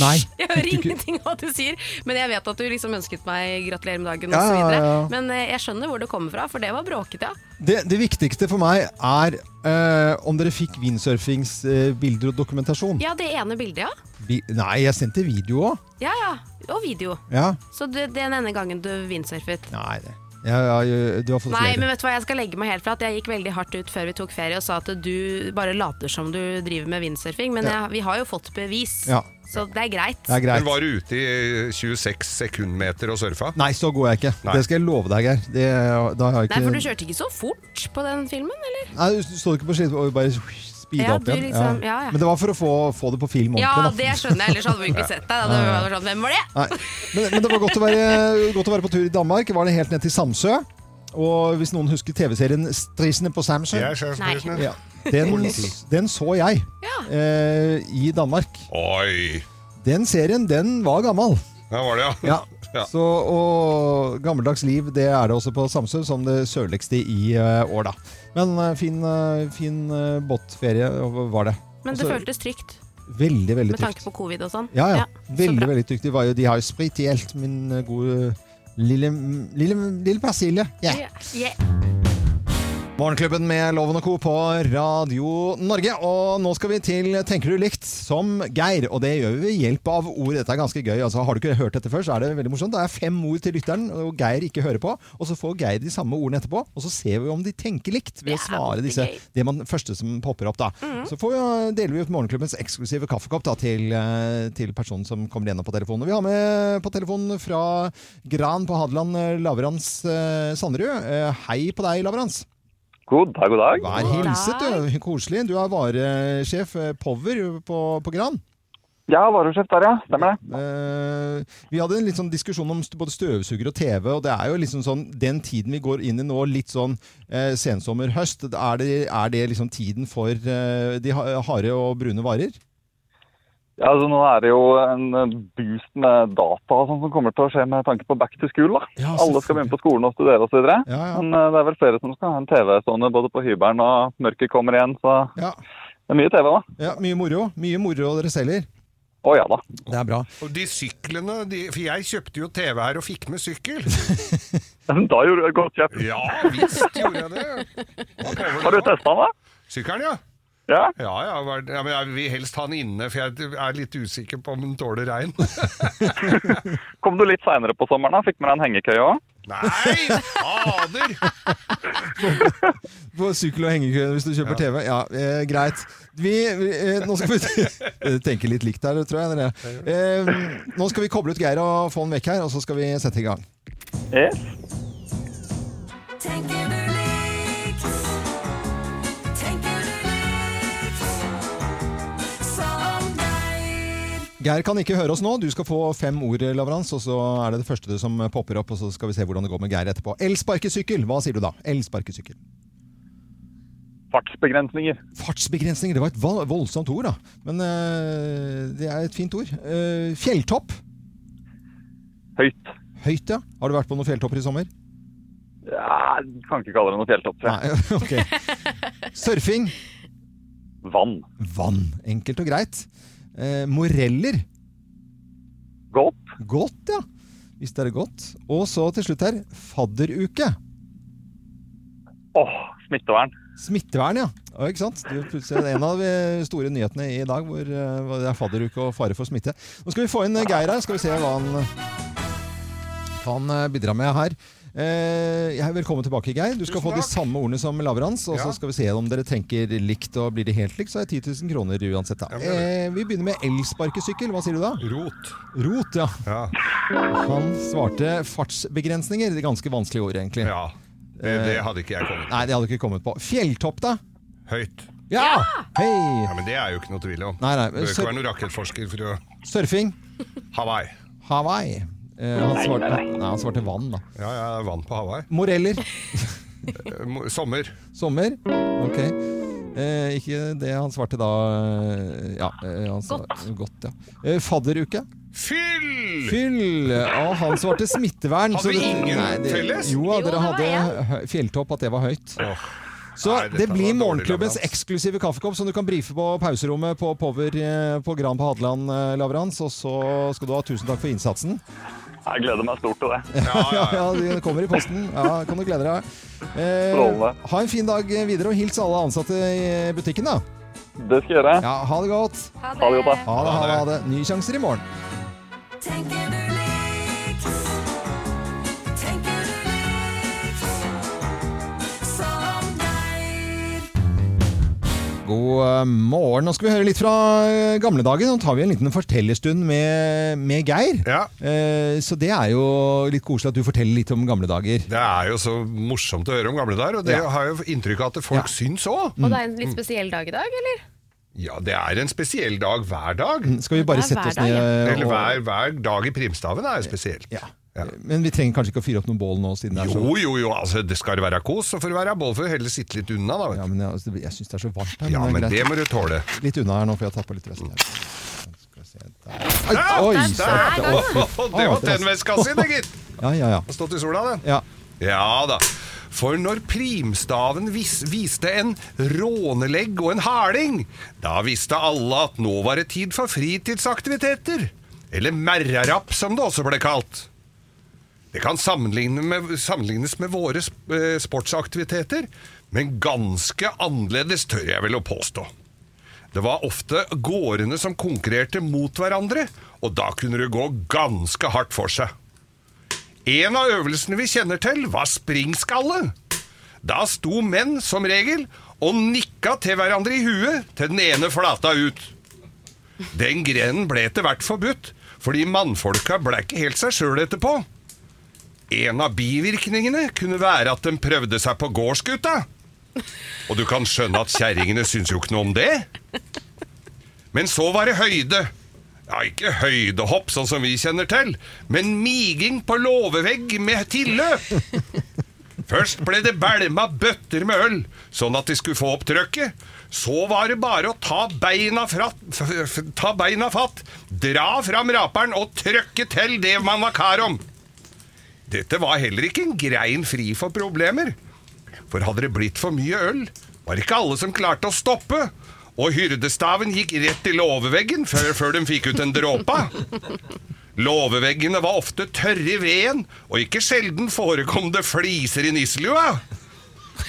A: Nei.
B: Jeg hører ingenting av hva du sier, men jeg vet at du liksom ønsket meg gratulerer med dagen
A: Ja,
B: osv.
A: ja, ja.
B: Men eh, jeg skjønner hvor det kommer fra, for det var bråkete. ja.
A: Det, det viktigste for meg er eh, om dere fikk windsurfingsbilder bilder og dokumentasjon.
B: Ja, det ene bildet, ja.
A: Vi, nei, jeg sendte video òg.
B: Ja, ja. Og video.
A: Ja.
B: Så det, det er den ene gangen du windsurfet.
A: Nei, det. Ja, ja, ja, du har fått
B: Nei,
A: flere.
B: men vet du hva, jeg skal legge meg helt flat. Jeg gikk veldig hardt ut før vi tok ferie og sa at du bare later som du driver med windsurfing, men jeg, vi har jo fått bevis,
A: Ja.
B: så det er greit.
A: Det er
C: Hun
A: greit.
C: var ute i 26 sekundmeter og surfa.
A: Nei, så går jeg ikke.
C: Nei.
A: Det skal jeg love deg, Geir. Det, da har jeg
B: Nei,
A: ikke
B: for du kjørte ikke så fort på den filmen, eller?
A: Nei, du står ikke på skilt og bare speede
B: Ja,
A: opp
B: du
A: igjen.
B: liksom- ja, ja.
A: Men det var for å få, få det på film ordentlig.
B: Ja,
A: da.
B: det skjønner jeg, ellers hadde vi ikke sett deg. Da. Det var bare sånn, Hvem var det?
A: Nei. Men, men det var godt å, være, godt å være på tur i Danmark. Var det helt ned til Samsø? Og hvis noen husker TV-serien 'Strisene på Samsø'?
C: Jeg er sjefsprisen.
A: Ja. Den, den så jeg
B: Ja.
A: eh, i Danmark.
C: Oi!
A: Den serien, den var gammel.
C: Der var det, ja. Ja.
A: Så, og gammeldags liv, det er det også på Samsø, som det sørligste i eh, år, da. Men eh, fin, eh, fin eh, båtferie var det.
B: Men det
A: Altså,
B: føltes trygt,
A: Veldig, veldig
B: med tanke
A: trygt.
B: på covid og sånn.
A: Ja, ja.
B: så
A: Veldig,
B: bra.
A: veldig trygt. De, var jo, de har jo spritelt min eh, gode lille, lille, lille persille. Yeah.
B: Ja. Yeah.
A: Morgenklubben med Loven og Co. på Radio Norge. Og nå skal vi til Tenker du likt som Geir, og det gjør vi ved hjelp av ord. Dette er ganske gøy. altså Har du ikke hørt dette før, så er det veldig morsomt. Det er fem ord til lytteren, og Geir ikke hører på. Og så får Geir de samme ordene etterpå, og så ser vi om de tenker likt ved
B: Det
A: å
B: er
A: svare
B: alltid
A: disse.
B: gøy. Mhm.
A: Det man første som popper opp, da. Så får vi, eh, deler vi ut Morgenklubbens eksklusive kaffekopp da, til, eh, til personen som kommer igjennom på telefonen. Og vi har med på telefonen fra Gran på Hadeland, eh, Lavrans eh, Sanderud. Eh, Hei på deg, Lavrans.
F: God dag, god dag.
A: Vær
B: God
A: hilset, du. Koselig. Du er varesjef eh, Power på, på Gran.
F: Ja, varosjef der, ja. Stemmer det.
A: Eh, vi hadde en litt sånn diskusjon om st- både støvsuger og TV, og det er jo liksom sånn den tiden vi går inn i nå, litt sånn eh, sensommer, høst, er det, er det liksom tiden for eh, de ha- harde og brune varer?
F: Ja, altså Nå er det jo en eh, boost med data og sånn som kommer til å skje med tanke på back to school. da.
A: Ja,
F: Alle
A: selvfølgelig.
F: skal begynne på skolen og studere osv. videre.
A: Ja, ja.
F: Men eh, det er vel flere som skal ha en TV stående både på hybelen og mørket kommer igjen. Så
A: Ja,
F: det er mye TV, da.
A: ja mye moro. Mye moro dere selger.
F: Å ja da.
A: Det er bra.
C: Og de syklene de, For jeg kjøpte jo TV her og fikk med sykkel.
F: Da gjorde du et godt kjøp.
C: Ja visst gjorde jeg det. Hva prøver
F: Har du
C: nå?
F: testa den, da?
C: Sykkelen, ja.
F: Ja?
C: Ja, ja, var- ja, men jeg vil helst ha den inne, for jeg er litt usikker på om den tåler regn.
F: Kom du litt seinere på sommeren? da? Fikk med deg en hengekøye òg?
C: Nei, fader!
A: På sykkel- og hengekøye hvis du kjøper TV. Ja, eh, greit. Vi, eh, nå skal vi Dere tenker litt likt her, tror jeg. Dere. Eh, nå skal vi koble ut Geir og få han vekk her, og så skal vi sette i gang.
F: Yes.
G: Tenker du likt? Tenker du likt? Som deg?
A: Geir kan ikke høre oss nå. Du skal få fem ord, eh, Lavrans, og så er det det første som eh, popper opp, og så skal vi se hvordan det går med Geir etterpå. Elsparkesykkel, hva sier du da? Elsparkesykkel.
F: Fartsbegrensninger.
A: Fartsbegrensninger, det var et vo- voldsomt ord, da. Men eh, det er et fint ord. Eh, fjelltopp.
F: Høyt.
A: Høyt, ja. Har du vært på noen fjelltopper i sommer?
F: Ja, kan ikke kalle det noe fjelltopp. tror jeg.
A: Nei, ok. Surfing.
F: Vann.
A: Vann. Enkelt og greit. Eh, moreller.
F: Godt.
A: Godt, ja. Hvis det er godt. Og så til slutt her, fadderuke.
F: Åh, smittevern.
A: Smittevern, ja. ja ikke sant? Det er jo plutselig en av de store nyhetene i dag hvor eh, hvor det er fadderuke og fare for smitte. Nå skal vi få inn eh, Geir her. Skal vi se hva han, hva han eh, bidrar med her. Eh, jeg- velkommen tilbake, Geir. Du skal
C: Tusen
A: få de
C: takk.
A: samme ordene som Lavrans. Og
C: Ja.
A: så skal vi se om dere tenker likt. Og blir det helt likt, så er det 10 000 kroner uansett. Da.
C: Ja, men det
A: Eh, vi begynner med elsparkesykkel. Hva sier du da?
C: Rot.
A: Rot, ja.
C: Ja.
A: Han svarte fartsbegrensninger. Det er ganske vanskelige ord, egentlig.
C: ja. Det, det hadde ikke jeg kommet
A: Nei, det hadde du ikke kommet på. Fjelltopp, da?
C: Høyt.
A: Ja! Hei!
C: Ja, Men det er jo ikke noe tvil om.
A: Nei, nei,
C: Bør
A: så-
C: ikke være noen rakettforsker for å
A: Surfing?
C: Hawaii.
A: Hawaii. Eh, han, svarte, nei, han svarte vann, da.
C: Ja, jeg er vann på Hawaii.
A: Moreller.
C: Eh, mo- Sommer.
A: Sommer. Ok. Eh, ikke det han svarte da eh, Ja. eh, han svar- godt ja. Eh, fadderuke.
C: Fyll!
A: Fyll! Og han svarte smittevern.
C: Hadde
A: så
C: vi
A: det-
C: ingen felles?
A: Jo,
B: Jo, det
A: dere
B: var
A: hadde
B: jeg.
A: hø- fjelltopp, at det var høyt.
C: Åh,
A: Så
C: Nei, dette
A: det blir
C: var dårlig,
A: morgenklubbens
C: Lavrans.
A: eksklusive kaffekopp som du kan brife på pauserommet på Power eh, på Gran på Hadeland, eh, Lavrans. Og så skal du ha tusen takk for innsatsen.
F: Jeg gleder meg stort til
C: ja,
F: det.
A: Ja,
C: ja, ja.
A: ja, det kommer i posten. Ja, kan du glede deg. Eh,
F: Strålende.
A: ha en fin dag videre, og hils alle ansatte i butikken, da.
F: Det skal jeg gjøre.
A: Ja, ha det godt.
F: Ha det godt, da.
A: Ha det, ha det. Ha det. Nye sjanser i morgen.
G: Tenker du likt? Tenker du likt? Som deg?
A: God eh, morgen. Nå skal vi høre litt fra eh, gamle dager. Nå tar vi en liten fortellerstund med, med Geir.
C: ja.
A: Eh, Så det er jo litt koselig at du forteller litt om gamle dager.
C: Det er jo så morsomt å høre om gamle dager, og det
A: Ja.
C: har jo inntrykk av at folk
A: Ja.
C: syns òg.
A: Mm.
B: Og det er en litt spesiell dag i dag, eller?
C: Ja, det er en spesiell dag hver dag.
A: Skal vi bare
B: Det er
A: sette oss
B: hverdag,
A: ned? eh,
C: Eller
A: og-
C: hver, hver dag i primstaven er jo spesielt.
A: Ja.
C: Ja.
A: Men vi trenger kanskje ikke å fyre opp noen bål nå? siden det er så...
C: Jo, jo, jo, altså det skal være kos, og for å være bål får du heller sitte litt unna, da.
A: Ja,
C: Vet du.
A: men jeg, altså, jeg syns det er så varmt her.
C: Ja, men
A: det er
C: det
A: greit.
C: må du tåle.
A: Litt unna her nå, for jeg har tatt på litt vest. her. Skal vi se der. Oi, oi!
C: Der!
A: sant. Å, fy
C: Å, Det var tennveska si, det, gitt!
A: Ja, ja, ja.
C: Har Stått i sola, den.
A: ja.
C: Ja da. For når primstaven vis viste en rånelegg og en harding, da visste alle at nå var det tid for fritidsaktiviteter. Eller merrarapp, som det også ble kalt. Det kan sammenligne med, sammenlignes med våre sp- eh, sportsaktiviteter, men ganske annerledes tør jeg vel å påstå. Det var ofte gårdene som konkurrerte mot hverandre, og da kunne det gå ganske hardt for seg. En av øvelsene vi kjenner til, var springskalle. Da sto menn som regel og nikka til hverandre i huet til den ene flata ut. Den grenen ble etter hvert forbudt, fordi mannfolka ble ikke helt seg sjøl etterpå. En av bivirkningene kunne være at de prøvde seg på gårdsgutta. Og du kan skjønne at kjerringene syns jo ikke noe om det. Men så var det høyde. Ja, ikke høydehopp, sånn som vi kjenner til, men miging på låvevegg med tilløp. Først ble det bælma bøtter med øl, sånn at de skulle få opp trøkket. Så var det bare å ta beina, fra, f, f, ta beina fatt, dra fram raperen og trøkke til det man var kar om. Dette var heller ikke en grein fri for problemer. For hadde det blitt for mye øl, var det ikke alle som klarte å stoppe. Og hyrdestaven gikk rett i låveveggen før, før de fikk ut en dråpa. Låveveggene var ofte tørre i veden, og ikke sjelden forekom det fliser i nisselua.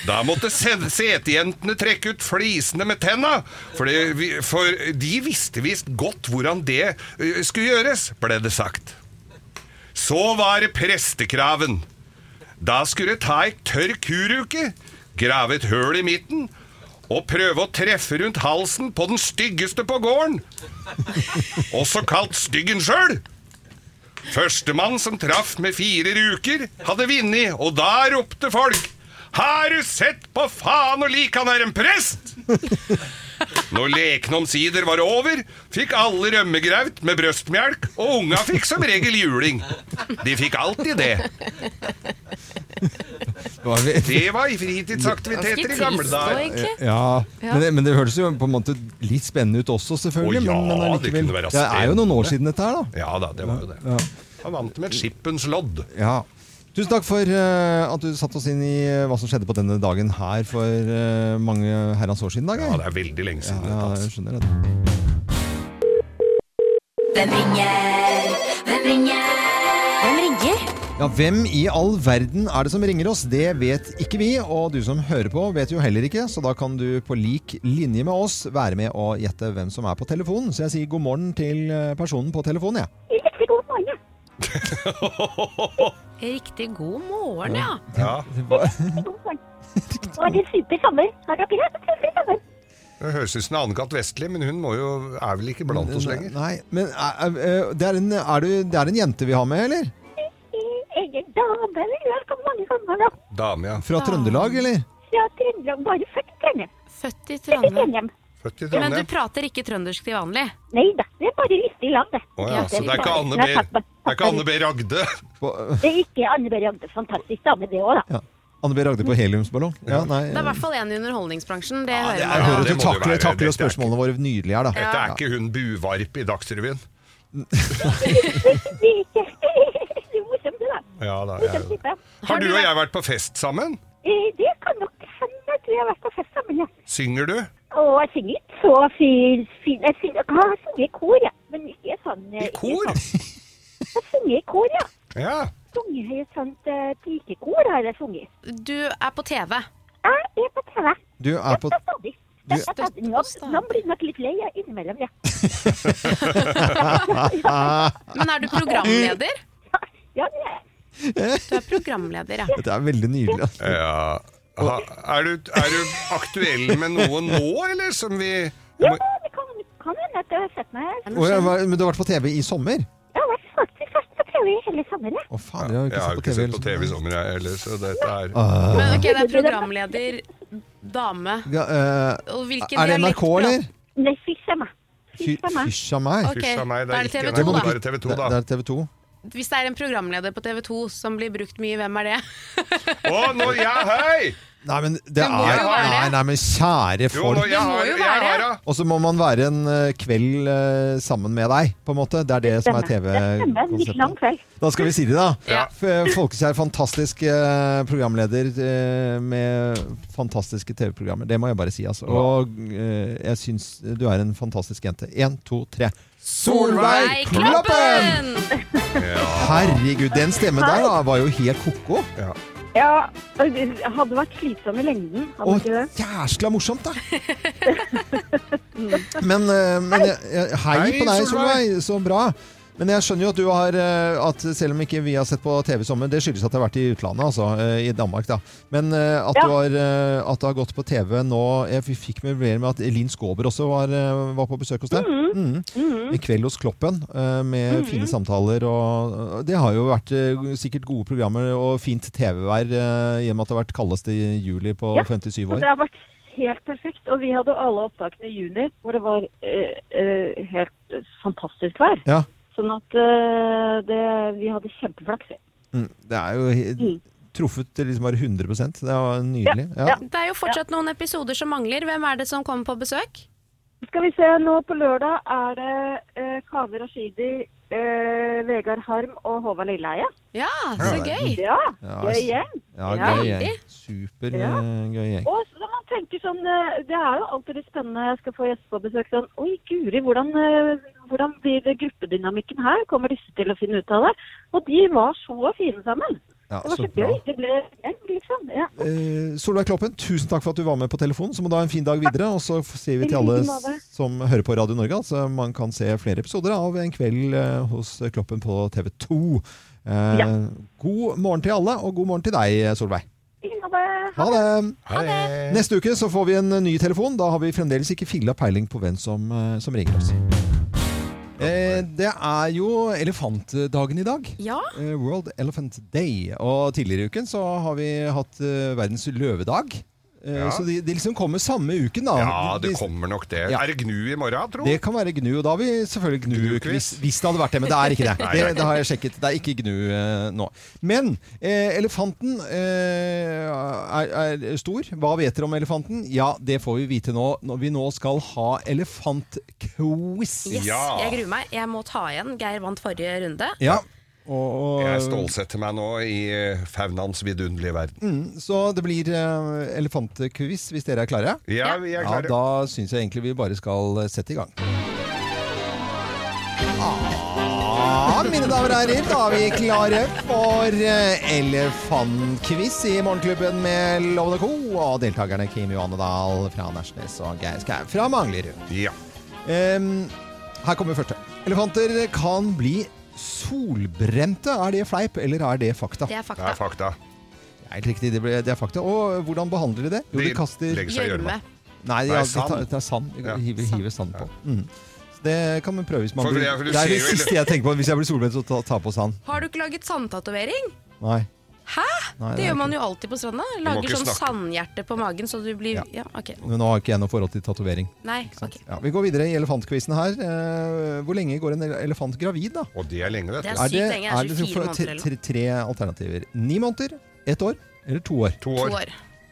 C: Da måtte se- setejentene trekke ut flisene med tenna, for, det, vi- for de visste visst godt hvordan det ø, skulle gjøres, ble det sagt. Så var det prestekraven. Da skulle jeg ta ei tørr kuruke, grave et høl i midten og prøve å treffe rundt halsen på den styggeste på gården. Også kalt styggen sjøl. Førstemann som traff med fire ruker, hadde vunnet, og da ropte folk Har du sett på faen og lik, han er en prest! Når leken omsider var over, fikk alle rømmegraut med brøstmjelk, og unga fikk som regel juling. De fikk alltid det.
A: Det var vi-
C: Det var i fritidsaktiviteter i gamle dager.
B: egentlig.
A: Ja,
B: Ja.
A: Men, det, men det høres jo på en måte litt spennende ut også, selvfølgelig.
C: Å ja,
A: men, men
C: det
A: allikevel.
C: kunne være
A: det er jo noen år siden dette her, da.
C: Ja da, det var jo det.
A: Ja.
C: Han vant med skippens lodd.
A: Ja. Tusen takk for eh, at du satte oss inn i eh, hva som skjedde på denne dagen her for eh, mange herrens år siden. i Dag,
C: Ja,
A: jeg.
C: det er veldig lenge siden.
A: ja,
C: dette, altså.
A: jeg skjønner det.
G: Hvem ringer? Hvem ringer? Hvem ringer?
A: Ja, Hvem i all verden er det som ringer oss? Det vet ikke vi, og du som hører på vet jo heller ikke, så da kan du på lik linje med oss være med og gjette hvem som er på telefonen. Så jeg sier god morgen til eh, personen på telefonen, jeg.
D: Riktig god morgen.
B: Riktig god morgen, ja.
C: Ja,
D: God morgen. Var det super sommer? Har dere hatt en super sommer?
C: det høres ut som Anne-Kat. Vestli, men hun må jo, er vel ikke blant oss lenger.
A: Nei, men er, er, eh, det, er en, er du, det er en jente vi har med, eller?
D: Egen dame, eller jeg har kommet mange ganger da.
C: Dame, ja.
A: Fra Trøndelag, eller?
D: Fra Trøndelag, bare født i Trondheim.
B: Født i
D: Født i
B: Trondheim.
D: Trondheim.
C: Født i
B: Men du
C: Trondheim.
B: prater ikke trøndersk til vanlig?
D: Nei da, det er bare liste i land, det.
C: Å ja, så det er ikke Anne B.
D: Nei, takk, men-
C: Det er ikke Anne B. Ragde.
A: På,
D: Det er ikke Anne Berg Agde. Fantastisk dame, det òg, da.
A: ja. Anne B. Ragde på heliumsballong? Ja, nei.
B: Det er i hvert fall en i underholdningsbransjen. Det
A: Det
B: hører
A: er, hører
C: det
A: du
C: må det
A: takler,
C: være.
A: takler
C: Dette er
A: spørsmålene våre nydelig her, da.
C: Dette er ikke hun Buvarp i Dagsrevyen.
D: Det er ikke Det er morsomt, det, da.
C: Ja, da, ja.
D: Morsom type.
C: Har du og jeg vært på fest sammen?
D: Eh, Det kan nok hende. Jeg tror jeg har vært på fest sammen, jeg.
C: Synger du?
D: Og jeg synger ikke så fin, fin. Jeg synger, jeg har sunget i kor, jeg. Men ikke sånn eh,
C: I
D: ikke
C: kor?
D: sånn. Jeg synger i kor, ja.
C: Ja.
D: Sunget i et sånt eh, pikekor har jeg sunget.
B: Du er på TV.
D: Jeg er på TV.
A: Du er på
D: Jeg er stadig.
A: Du-
D: Jeg er stadig. Nå, nå blir jeg nok litt lei jeg, innimellom, ja.
B: Men er du programleder?
D: ja det er jeg.
B: Du er programleder, ja.
A: Dette er veldig nydelig. da.
C: ja. Ha, er, du, er du aktuell med noe nå, eller som vi
D: Ja, det kan kan hende at jeg har sett meg her.
A: Å, ja, hva- Men du har vært på TV i sommer?
D: Jeg har vært faktisk vært på TV hele sommeren, jeg.
A: Å faen, jeg har
C: Jeg
A: ikke
C: har jo
A: sett på TV. liksom. sånn?
C: ikke sett på TV i sånn. sommer, jeg heller, så dette er
A: Ah.
B: Men ok, det er programleder, dame
A: Ja, eh,
B: Og hvilken
A: er det
B: dialekt
A: NRK, eller?
D: Nei, fysj er meg.
A: Fy-
D: Fysj er meg.
A: Fysj a meg.
B: Ok,
C: Fysj a meg, det
B: da er det
C: er
B: TV
C: ikke NRK,
B: 2,
A: må
C: det
A: du
B: da.
C: er TV 2,
A: Det,
C: da.
A: det er TV 2.
B: Hvis det er en programleder på TV 2 som blir brukt mye, hvem er det?
C: Å, nå, ja, hei!
A: Nei, men det
B: Det må
A: er
B: jo være
A: Nei,
B: det.
A: nei, men kjære
C: Jo, nå,
A: folk.
C: jeg
B: må
C: har,
B: jo
C: jeg
B: være
C: har,
B: det.
C: ja.
A: Og så må man være en eh, kveld eh, sammen med deg, på en måte. Det er det som er
D: Det stemmer. En litt lang
A: TV-konseptet.
D: kveld.
A: Da skal vi si det, da.
B: Ja.
A: F- eh, Folkekjær, fantastisk eh, programleder eh, med fantastiske TV-programmer. Det må jeg bare si, altså. Og eh, jeg syns du er en fantastisk jente. Én, to, tre.
B: Nei, Kloppen!
A: Herregud, den stemmen der da, var jo helt ko-ko.
D: Ja, det hadde vært slitsom i lengden, hadde
A: Og
D: ikke det?
A: jæskla morsomt, da! Men, eh, men jeg, jeg, hei,
C: Hei,
A: på deg,
C: Solveig.
A: Solveig. Så bra. Men jeg skjønner jo at du har eh, at selv om ikke vi har sett på TV i sommer, det skyldes at det har vært i utlandet, altså. eh, I Danmark, da. Men eh, at,
D: Ja.
A: du har, eh, at du har gått på TV nå Jeg f- fikk med mer med at Linn Skåber også var, eh, var på besøk hos deg. Mhm. I kveld hos Kloppen, eh, med
H: Mm,
A: fine samtaler og og Det har jo vært eh, sikkert gode programmer og fint TV-vær, eh, i og med at det har vært kaldeste juli på
D: Ja.
A: 57
D: Og
A: år.
D: det har vært helt perfekt. Og vi hadde alle opptakene i juni, hvor det var eh, eh, helt eh, fantastisk
H: kultvær.
A: Ja.
H: Sånn at eh, det, vi hadde kjempeflaks.
A: Mm, Det er jo he-
H: Mm.
A: truffet til liksom bare 100 Det var nydelig. Ja.
H: ja.
B: Det er jo fortsatt noen episoder som mangler. Hvem er det som kommer på besøk?
H: Skal vi se, nå på lørdag er det eh, Kaveh Rashidi, eh, Vegard Harm og Håvard Lilleheie.
B: Ja, så gøy!
H: Ja,
A: Ja,
H: det
A: s-
H: er gjeng.
A: Ja,
H: Ja.
A: gøy gjeng. Super
H: Ja.
A: eh, gøy gjeng.
H: Og så man tenker sånn, eh, Det er jo alltid litt spennende jeg skal få gjester på besøk. sånn, Oi, guri, hvordan, eh, hvordan blir det gruppedynamikken her? Kommer disse til å finne ut av det? Og de var så fine sammen.
A: Ja,
H: Det var
A: så
H: så
A: bra.
H: gøy. Det ble gjeng, liksom. Ja.
A: Eh, Solveig Kloppen, tusen takk for at du var med på telefonen. Så må du ha en fin dag videre. Og så f- sier vi til alle
H: I like måte.
A: s- som hører på Radio Norge, altså man kan se flere episoder av En kveld eh, hos Kloppen på TV 2. Eh, God morgen til alle, og god morgen til deg, Solveig.
H: Ha det.
A: Ha det!
C: Ha det!
A: Neste uke så får vi en eh, ny telefon. Da har vi fremdeles ikke filla peiling på hvem som, eh, som ringer oss. Eh, det er jo elefantdagen i dag.
B: Ja,
A: Eh, World Elephant Day. Og tidligere i uken så har vi hatt eh, verdens løvedag. Eh,
C: Ja.
A: Så de, de liksom kommer samme uken, da.
C: Ja,
A: De-
C: det kommer nok det.
A: Ja.
C: Er det gnu i morgen, tro?
A: Det kan være gnu, og da har vi selvfølgelig gnu-quiz.
C: Gnu-quiz.
A: Hvis det hadde vært det, men det er ikke det. Det,
C: Nei, det er ikke
A: det har jeg sjekket. Det er ikke gnu eh, nå. Men eh, elefanten eh, er, er stor. Hva vet dere om elefanten? Ja, det får vi vite nå når vi nå skal ha elefantquiz.
B: yes,
C: Ja.
B: Jeg gruer meg. Jeg må ta igjen. Geir vant forrige runde.
A: Ja. Og, og,
C: Jeg stålsetter meg nå i eh, faunaens vidunderlige verden.
A: så det blir eh, elefantquiz hvis dere er klare.
C: Ja, vi er
A: Ja,
C: klare.
A: da syns jeg egentlig vi bare skal eh, sette i gang. Ah, mine damer og herrer, da er vi klare for eh, elefantquiz i Morgenklubben med Lovende Co. Og deltakerne Kim Johanne Dahl fra Nærsnes og Geir Skau fra Manglerud.
C: Ja.
A: Em, her kommer første. Elefanter kan bli solbrente. Er det fleip, eller er det fakta?
B: Det er
C: Det
B: fakta.
C: er fakta.
A: Det er helt riktig, det, ble, det er fakta. Og hvordan behandler de det? Jo, de,
C: De
A: kaster
C: legger seg i
B: Gjørme.
C: gjørma.
A: Nei,
C: Nei,
A: ja,
C: sand.
A: Det, tar, det er sand. Vi
C: Ja.
A: hiver, hiver sand på. Mm. Så det kan man prøve hvis man
C: For
A: blir
C: det er- for du
A: Det er
C: ser
A: det
C: jo hele-
A: siste jeg tenker på hvis jeg blir solbrent, så ta, ta på sand.
B: Har du ikke laget sandtatovering?
A: Nei.
B: Hæ?
A: Nei,
B: Det gjør man jo alltid på stranda.
C: ikke
B: Lager sånn
C: snakke.
B: sandhjerte på magen så du blir
A: Ja.
B: Ja, ok.
A: Men nå har ikke jeg noe forhold til tatovering.
B: Nei,
A: ikke sant?
B: ok.
A: Ja, vi går videre i elefantquizen her. Eh, Hvor lenge går en elefant gravid, da?
C: Og det er lenge, vet
B: Det
C: du.
B: er sykt lenge. Det er 24
A: for-
B: måneder eller noe.
A: tre, tre alternativer? Ni måneder, ett år eller to år?
C: To
B: To
C: år.
B: år.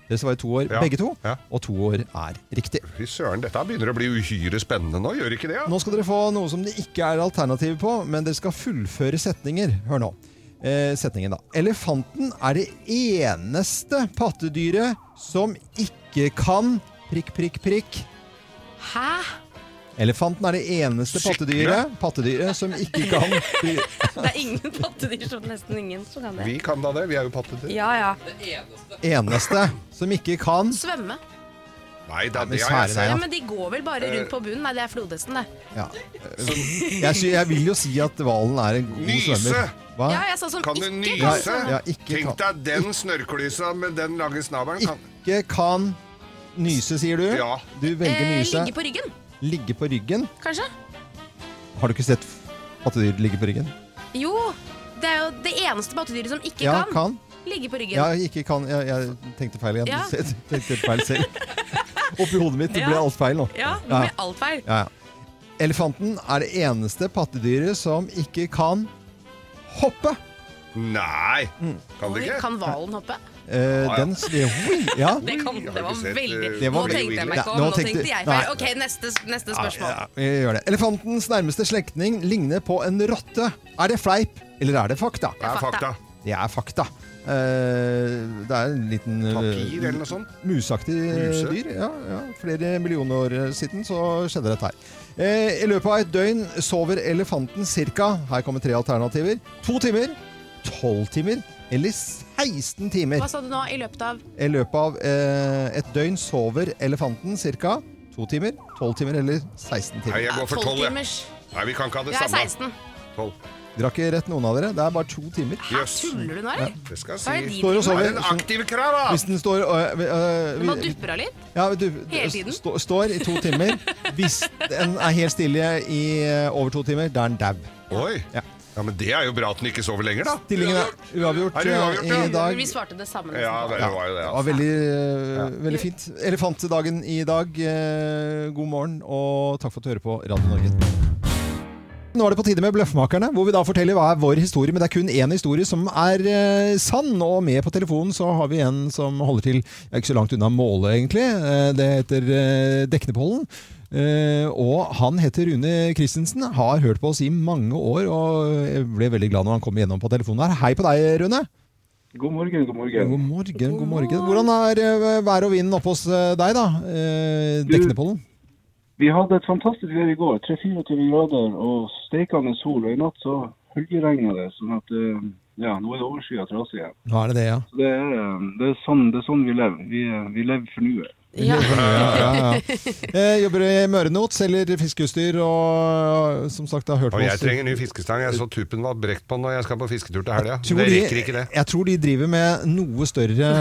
A: Det svarer to år,
C: Ja.
A: begge to.
C: Ja.
A: Og to år er riktig.
C: Fy søren, dette begynner å bli uhyre spennende nå, gjør ikke det? Ja?
A: Nå skal dere få noe som det ikke er alternativ på, men dere skal fullføre setninger. Hør nå. Eh, setningen, da. Elefanten er det eneste pattedyret som ikke kan prikk, prikk, prikk.
B: Hæ?
A: Elefanten er det eneste
C: Sykle.
A: pattedyret, pattedyret som ikke kan pri-
B: Det er ingen pattedyr som nesten ingen som kan det.
C: Vi kan da det, vi er jo pattedyr.
B: Ja ja.
A: Eneste som ikke kan
B: Svømme.
C: Nei, da,
A: men
C: det har jeg
A: svære
C: sett.
A: deg,
B: Ja, men de går vel bare rundt på bunnen? Nei, det er flodhesten, det.
A: ja. jeg, sy- jeg vil jo si at hvalen er en god
C: Nyse!
A: svømmer. Hva?
B: Ja, jeg sa som
C: Kan du
B: ikke
C: nyse?
A: Ja,
B: kan svømme.
A: ja, ikke
C: Tenk
A: kan.
C: deg den snørklysa med den lange snabelen. Kan...
A: Ikke kan nyse, sier du?
C: Ja.
A: Du velger
B: Eh,
A: nyse.
B: ligge på ryggen,
A: Ligge på ryggen.
B: kanskje?
A: Har du ikke sett pattedyr ligge på ryggen?
B: Jo. Det er jo det eneste pattedyret som ikke
A: ja,
B: kan.
A: kan.
B: ligge på ryggen.
A: Ja, ikke kan. Jeg, jeg tenkte feil igjen.
B: Ja.
A: Jeg tenkte feil selv. Oppi hodet mitt det ble
B: Ja.
A: alt feil nå.
B: Ja, nå
A: Ja.
B: blir alt feil.
A: Ja, ja. Elefanten er det eneste pattedyret som ikke kan hoppe.
C: Nei,
A: Mm.
C: kan det
B: Oi,
C: ikke?
B: Kan hvalen hoppe?
A: Eh,
C: ja.
A: Den sving... Ja.
B: Det, kan, det
C: jeg har ikke
B: var
C: sett,
B: veldig
C: eh,
A: Det var-
B: Nå tenkte jeg meg
A: Nei, nå
B: ikke om, nå
A: tenkte-
B: tenkte jeg
A: nei.
B: feil. Ok, neste, neste
A: Ja,
B: spørsmål.
A: ja, vi gjør det. Elefantens nærmeste slektning ligner på en rotte. Er det fleip, eller er det fakta?
C: Det er fakta.
A: Det er fakta. Eh, det er en liten eh,
C: Papir eller noe sånt.
A: Museaktig
C: Muse?
A: dyr. Ja, ja. Flere millioner år siden så skjedde dette her. Eh, I løpet av et døgn sover elefanten ca. Her kommer tre alternativer. To timer, tolv timer eller 16 timer.
B: Hva sa du nå i løpet av
A: I løpet av eh, et døgn sover elefanten ca. to timer, tolv timer eller 16
C: Nei,
A: timer.
C: jeg går for
B: 12
C: tolv, jeg.
B: timers?
C: Nei, vi kan ikke ha det
B: Jeg er
C: samme.
B: 16.
C: 12.
A: Dere har ikke rett, noen av dere. Det er bare to timer.
C: Jøs.
B: Tuller du nå, eller?
C: Det skal
B: Hva er det
C: jeg si.
A: Står og
B: de driver med?
C: Det
A: sover.
C: er en aktiv krav, da!
A: Hvis den står øh, øh,
B: Nå
A: vi-
B: dupper hun litt.
A: Ja, du,
B: Hele tiden?
A: Stå, står i to timer. Hvis den er helt stille i eh, over to timer, da er den dau.
C: Oi.
A: Ja.
C: Ja, men det er jo bra at den ikke sover lenger, da.
A: Stillingen er uavgjort,
C: Er det uavgjort,
A: eh,
C: ja?
A: i dag.
B: Vi svarte det samme.
C: Ja,
B: nesten.
C: det
A: Ja,
C: var jo det.
A: det var
C: Altså.
A: veldig, eh, veldig fint. Elefantdagen i dag. eh, God morgen, og takk for at du hører på Radio Norge. Nå er det på tide med Bløffmakerne, hvor vi da forteller hva er vår historie. Men det er kun én historie som er eh, sann. Og med på telefonen så har vi en som holder til ja, ikke så langt unna Måløy, egentlig. Eh, det heter eh, Deknepollen. Eh, og han heter Rune Christensen. Har hørt på oss i mange år, og jeg ble veldig glad når han kom igjennom på telefonen her. Hei på deg, Rune.
I: God morgen, god morgen.
A: God morgen, god morgen. Hvordan er eh, været og vinden oppe hos eh, deg, da? Eh, Deknepollen?
I: Vi hadde et fantastisk vær i går. 3-24 grader og steikende sol. Og i natt så høljeregna det. sånn at eh, ja, nå er det overskyet og trasig igjen.
A: Nå er det det, ja.
I: Så det er, eh, det er, sånn, det er sånn vi lever. Vi, eh, vi lever for nuet.
B: Ja.
A: ja, ja. Jeg jobber i Mørenot, selger fiskeutstyr og eh, som sagt har hørt på
C: Og jeg
A: oss.
C: trenger ny fiskestang. Jeg så tuppen var brekt på den når jeg skal på fisketur til helga.
A: Tror
C: Det
A: de-
C: rekker ikke det.
A: Jeg tror de driver med noe større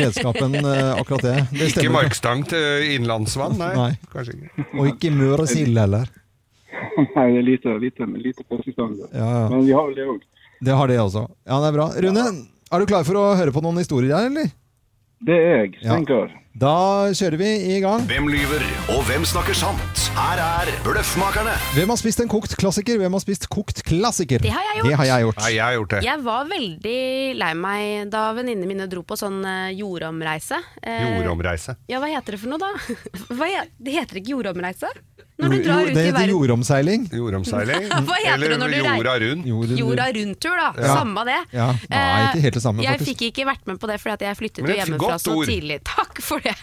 A: redskap enn eh, akkurat det. det
C: Ikke
A: stemmer.
C: markstang til innlandsvann, nei.
A: Nei.
C: Kanskje ikke.
A: Og ikke mør og sild heller.
I: Nei, det er lite, lite, lite fiskestang. det.
A: Ja, ja.
I: Men vi har vel det òg.
A: Det har det også. Ja, det er bra. Rune, er du klar for å høre på noen historier her, eller?
I: Det er jeg.
A: Ja.
I: Stein klar.
A: Da kjører vi i gang.
E: Hvem lyver, og hvem snakker sant? Her er Bløffmakerne.
A: Hvem har spist en kokt klassiker? Hvem har spist kokt klassiker?
B: Det har jeg gjort.
A: Det har jeg gjort.
C: Nei, jeg har gjort det.
B: Jeg var veldig lei meg da venninnene mine dro på sånn eh, jordomreise. Eh,
C: Jordomreise.
B: Ja, hva heter det for noe, da? Hva he det heter ikke jordomreise? Når du drar
A: Jo,
B: ut
A: det
B: i
A: heter
B: verden.
A: jordomseiling.
C: Jordomseiling.
B: Hva heter det når
C: Eller
B: du rei-
C: jorda rundt.
A: Jord-
B: Jorda rundt-tur, da.
A: Ja.
B: Samme det.
A: Ja. Nei, ikke helt det samme,
B: Eh, Jeg
A: faktisk.
B: fikk ikke vært med på det fordi at jeg flyttet
C: Men
B: jo
C: det er et
B: hjemmefra
C: godt
B: så
C: ord.
B: tidlig. Takk for det.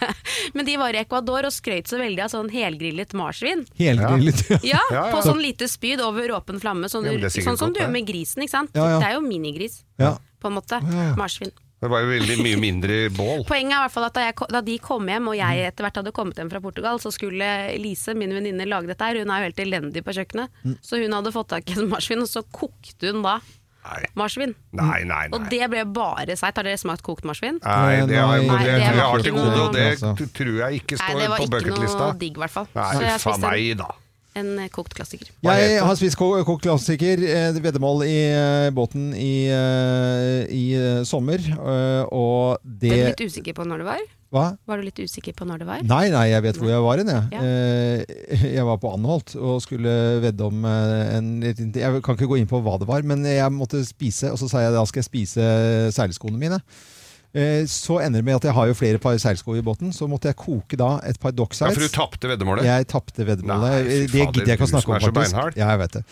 B: Men de var i Ecuador og skrøt så veldig av sånn helgrillet marsvin.
A: Helgrillet.
B: Ja,
C: Ja, ja.
B: på sånn lite spyd over åpen flamme. Sånn,
C: Ja, men det er sikkert
B: sånn som
C: godt,
B: du
C: det.
B: gjør med grisen, ikke sant.
A: Ja, ja.
B: Det er jo minigris,
A: Ja.
B: på en måte.
A: ja.
B: Marsvin.
C: Det var jo veldig mye mindre bål.
B: Poenget er i hvert fall at da, jeg, ko- da de kom hjem, og jeg etter hvert hadde kommet hjem fra Portugal, så skulle Lise, min venninne, lage dette her. Hun er jo helt elendig på kjøkkenet.
C: Mm.
B: Så hun hadde fått tak i en marsvin, og så kokte hun da
C: Nei,
B: marsvin.
C: nei, nei.
B: Og
C: nei.
B: det ble bare seigt. Har dere smakt kokt marsvin?
C: Nei, det har jeg,
A: Nei,
B: det var
C: det, jeg har
B: ikke
C: til gode, og det
A: noe-
C: t- tror jeg ikke
B: Nei, det
C: står
B: var
C: på
B: ikke
C: bucketlista.
B: noe digg, i hvert fall. Så
C: Nei,
B: jeg
C: faen
B: spiste
C: meg
B: en,
C: da.
B: en eh, kokt klassiker.
A: Jeg
C: heter
A: har spist ko- kokt klassiker, eh, veddemål i eh, båten i, eh, i eh, sommer, eh, og
B: Ble du
A: det
B: litt usikker på når det var?
A: Hva?
B: Var du litt usikker på når det var?
A: Nei, nei, jeg vet hvor jeg var hen, jeg.
B: Ja.
A: Eh, Jeg var på Anholt og skulle vedde om eh, en liten Jeg kan ikke gå inn på hva det var, men jeg måtte spise, og så sa jeg da skal jeg spise seilskoene mine. Eh, Så ender det med at jeg har jo flere par seilsko i båten, så måtte jeg koke da et par
C: Ja,
A: docksides.
C: for du tapte veddemålet.
A: Jeg tapte veddemålet.
C: Nei, fy
A: det
C: fader,
A: gidder jeg ikke å
C: du
A: snakke
C: som
A: om,
C: er så
A: faktisk.
C: beinhard.
A: Ja, jeg vet det.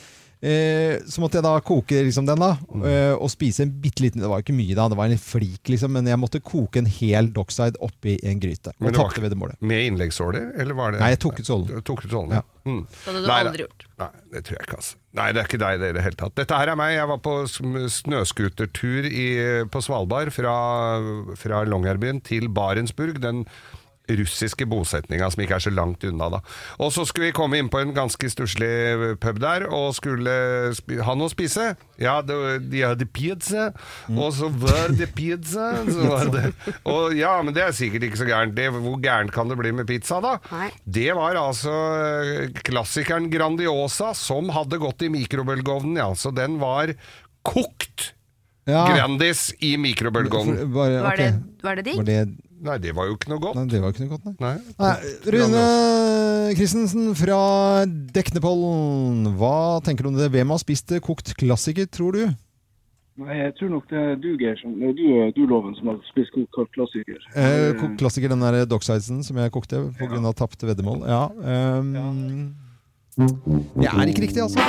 A: Eh, så måtte jeg da koke liksom den, da.
C: Mm.
A: eh, og spise en bitte liten Det var ikke mye da, det var en flik, liksom. Men jeg måtte koke en hel dockside oppi en gryte. Og
C: Men det var
A: tapte
C: ikke-
A: veddemålet.
C: Med innleggssåler, eller var det
A: Nei, jeg tok ut sålen.
C: Du Tok ut sålen, ja. Mm.
B: Det hadde du
C: Nei,
B: aldri gjort.
C: Nei, det tror jeg ikke, altså. Nei, det er ikke deg det i det hele tatt. Dette her er meg. Jeg var på sm- snøskutertur i, på Svalbard fra, fra Longyearbyen til Barentsburg. Den russiske bosetninga som ikke er så langt unna, da. Og så skulle vi komme inn på en ganske stusslig pub der, og skulle spi ha noe å spise. Ja, det, de hadde pizza, og så var det pizza. Så var det. Og ja, men det er sikkert ikke så gærent. Det, hvor gærent kan det bli med pizza, da?
B: Nei.
C: Det var altså eh, klassikeren Grandiosa som hadde gått i mikrobølgeovnen, ja. Så den var kokt
A: Ja,
C: Grandis i
A: for-
C: mikrobølgeovnen.
A: bare,
B: Var
A: ok.
B: det, var det digg?
A: Var det
C: Nei, det var jo ikke noe godt.
A: Nei, det var ikke noe godt, nei.
C: Nei.
A: nei Rune Christensen fra Deknepollen. Hva tenker du om det? Hvem har spist kokt klassiker, tror du?
I: Nei, jeg tror nok det er du, Geir, som, nei, du, eh, du Loven, som har spist god klassiker.
A: Eh, kokt klassiker, den der docksidesen som jeg kokte pga. Ja. tapte veddemål. Ja, ehm, Det er ikke riktig, altså.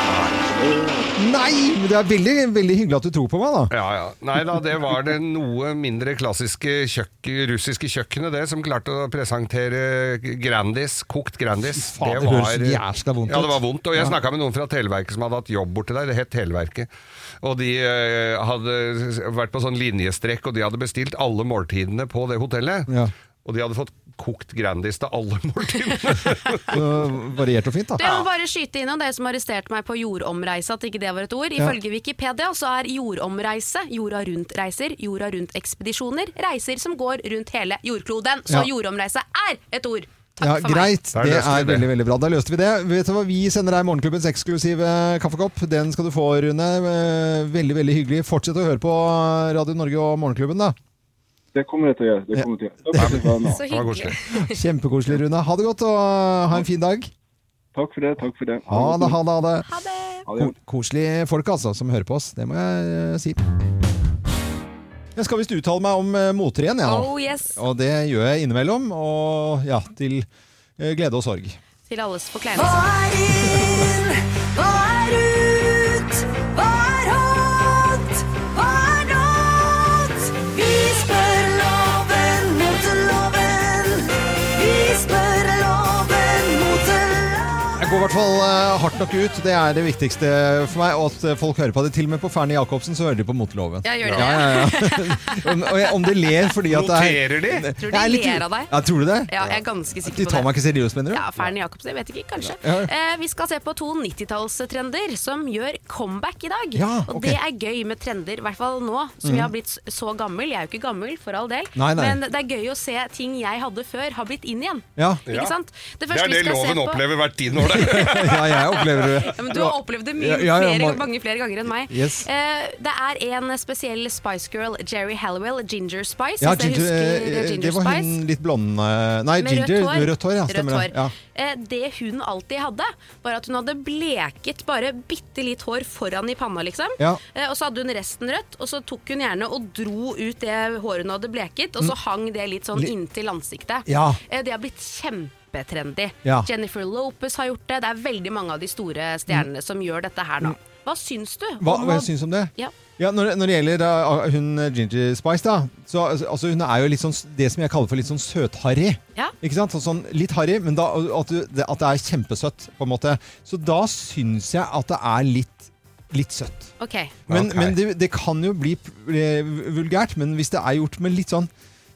A: Nei! Men det er veldig, veldig hyggelig at du tror på meg, da.
C: Ja, ja. Nei da, det var det noe mindre klassiske kjøkk, russiske kjøkkenet, det, som klarte å presentere Grandis, kokt Grandis.
A: Faen, det høres jævla vondt
C: Ja, det
A: ut.
C: var vondt. Og jeg snakka med noen fra Televerket som hadde hatt jobb borti der. Det het Televerket. Og de eh, hadde vært på sånn linjestrekk, og de hadde bestilt alle måltidene på det hotellet.
A: Ja.
C: Og de hadde fått kokt Grandis til alle måltidene.
A: Så variert og fint, da.
B: Det må bare skyte innom dere som arresterte meg på jordomreise, at ikke det var et ord. Ifølge Wikipedia så er jordomreise jorda rundt-reiser, jorda rundt-ekspedisjoner, reiser som går rundt hele jordkloden. Så
A: Ja.
B: jordomreise er et ord! Takk
A: Ja,
B: for meg.
A: greit.
C: Der
A: Det
C: løste vi
A: er
C: det.
A: veldig veldig bra. Da løste vi det. Vet du hva, Vi sender deg Morgenklubbens eksklusive kaffekopp. Den skal du få, Rune. Eh, Veldig veldig hyggelig. Fortsett å høre på Radio Norge og Morgenklubben, da.
I: Det kommer jeg til å gjøre. Det kommer jeg til å gjøre. Takk for at jeg var med.
B: Så
C: Det var
B: hyggelig.
C: koselig.
A: Kjempekoselig, Rune. Ha det godt, og ha en fin dag.
I: Takk for det. Takk for det.
A: Ha det, ha det, ha det.
B: Ha det!
I: Ha
A: Ko
I: det
A: koselige folk altså, som hører på oss. Det må jeg eh, si. Jeg skal visst uttale meg om eh, moter igjen, jeg nå.
B: Oh yes!
A: Og det gjør jeg innimellom. Og ja, til eh, glede og sorg.
B: Til alles
G: Hva
B: forkleinelse.
G: er inn? Hva er ut? Hva er hot? Hva er not? Vi spør loven, moteloven. Vi spør loven, moteloven.
A: Jeg går i hvert fall eh, hardt nok ut. Det er det viktigste for meg. Og at eh, folk hører på det. Til og med på Ferne Jacobsen så hører de på moteloven.
B: Ja, gjør de
A: ja, ja, ja. om, og jeg- om de ler fordi at det er
C: Noterer de?
B: Tror
A: Jeg
B: du
A: er
B: de
A: litt-
B: ler av deg?
A: Ja, tror du det?
B: Ja, jeg er ganske
A: De
B: sikker
A: tar
B: på
A: meg
B: det.
A: ikke seriøst, mener du?
B: Ja, Fern Jacobsen, jeg vet ikke, kanskje.
A: Ja.
B: Eh, vi skal se på to 90-tallstrender som gjør comeback i dag.
A: Ja,
B: Og
A: ok. Mhm.
B: det er gøy med trender, i hvert fall nå som jeg har blitt s- så gammel. Jeg er jo ikke gammel, for all del,
A: Nei, nei.
B: men det er gøy å se ting jeg hadde før, har blitt inn igjen.
A: Ja.
C: Ja.
B: Ikke sant? Det
C: Det
B: første
C: er det
B: vi skal se
C: loven
B: på-
C: opplever hvert tiende år. det.
A: ja, jeg opplever det.
B: Ja, men du har opplevd det mye,
A: Ja, ja, ja,
B: flere,
A: man-
B: mange flere ganger enn meg.
A: Yes.
B: Eh, det er en spesiell Spice Girl, Jerry Halliwell, Ginger Spice.
A: Ja,
B: hvis dere
A: Ginger,
B: husker
A: eh,
B: Ginger
A: det var
B: Spice.
A: hun litt blond eh, Nei,
B: Med
A: Ginger.
B: rødt hår.
A: Rødt hår, ja. Stemmer
B: Rødt
A: det.
B: hår.
A: Ja.
B: Eh, Det hun alltid hadde, var at hun hadde bleket bare bitte litt hår foran i panna, liksom.
A: Ja.
B: Eh, Og så hadde hun resten rødt, og så tok hun gjerne og dro ut det håret hun hadde bleket, og så hang det litt sånn
A: Mm. Li-
B: inntil ansiktet.
A: Ja.
B: Eh, Det har blitt kjempetrendy.
A: Ja.
B: Jennifer Lopez har gjort det. Det er veldig mange av de store stjernene som gjør dette her nå. Hva syns du?
A: Mm. Hva,
B: om
A: hva
B: å-
A: syns du om det?
B: Ja.
A: når, når det gjelder eh, hun eh, Ginger Spice, da så, altså, Hun er jo litt sånn s- det som jeg kaller for litt sånn søtharry.
B: Ja.
A: Ikke sant? Sånn, sånn litt harry, men da, at, du, det, at det er kjempesøtt, på en måte. Så da syns jeg at det er litt, litt søtt.
B: Ok.
A: Men,
C: Ok.
A: men det, det kan jo bli eh, vulgært, men hvis det er gjort med litt sånn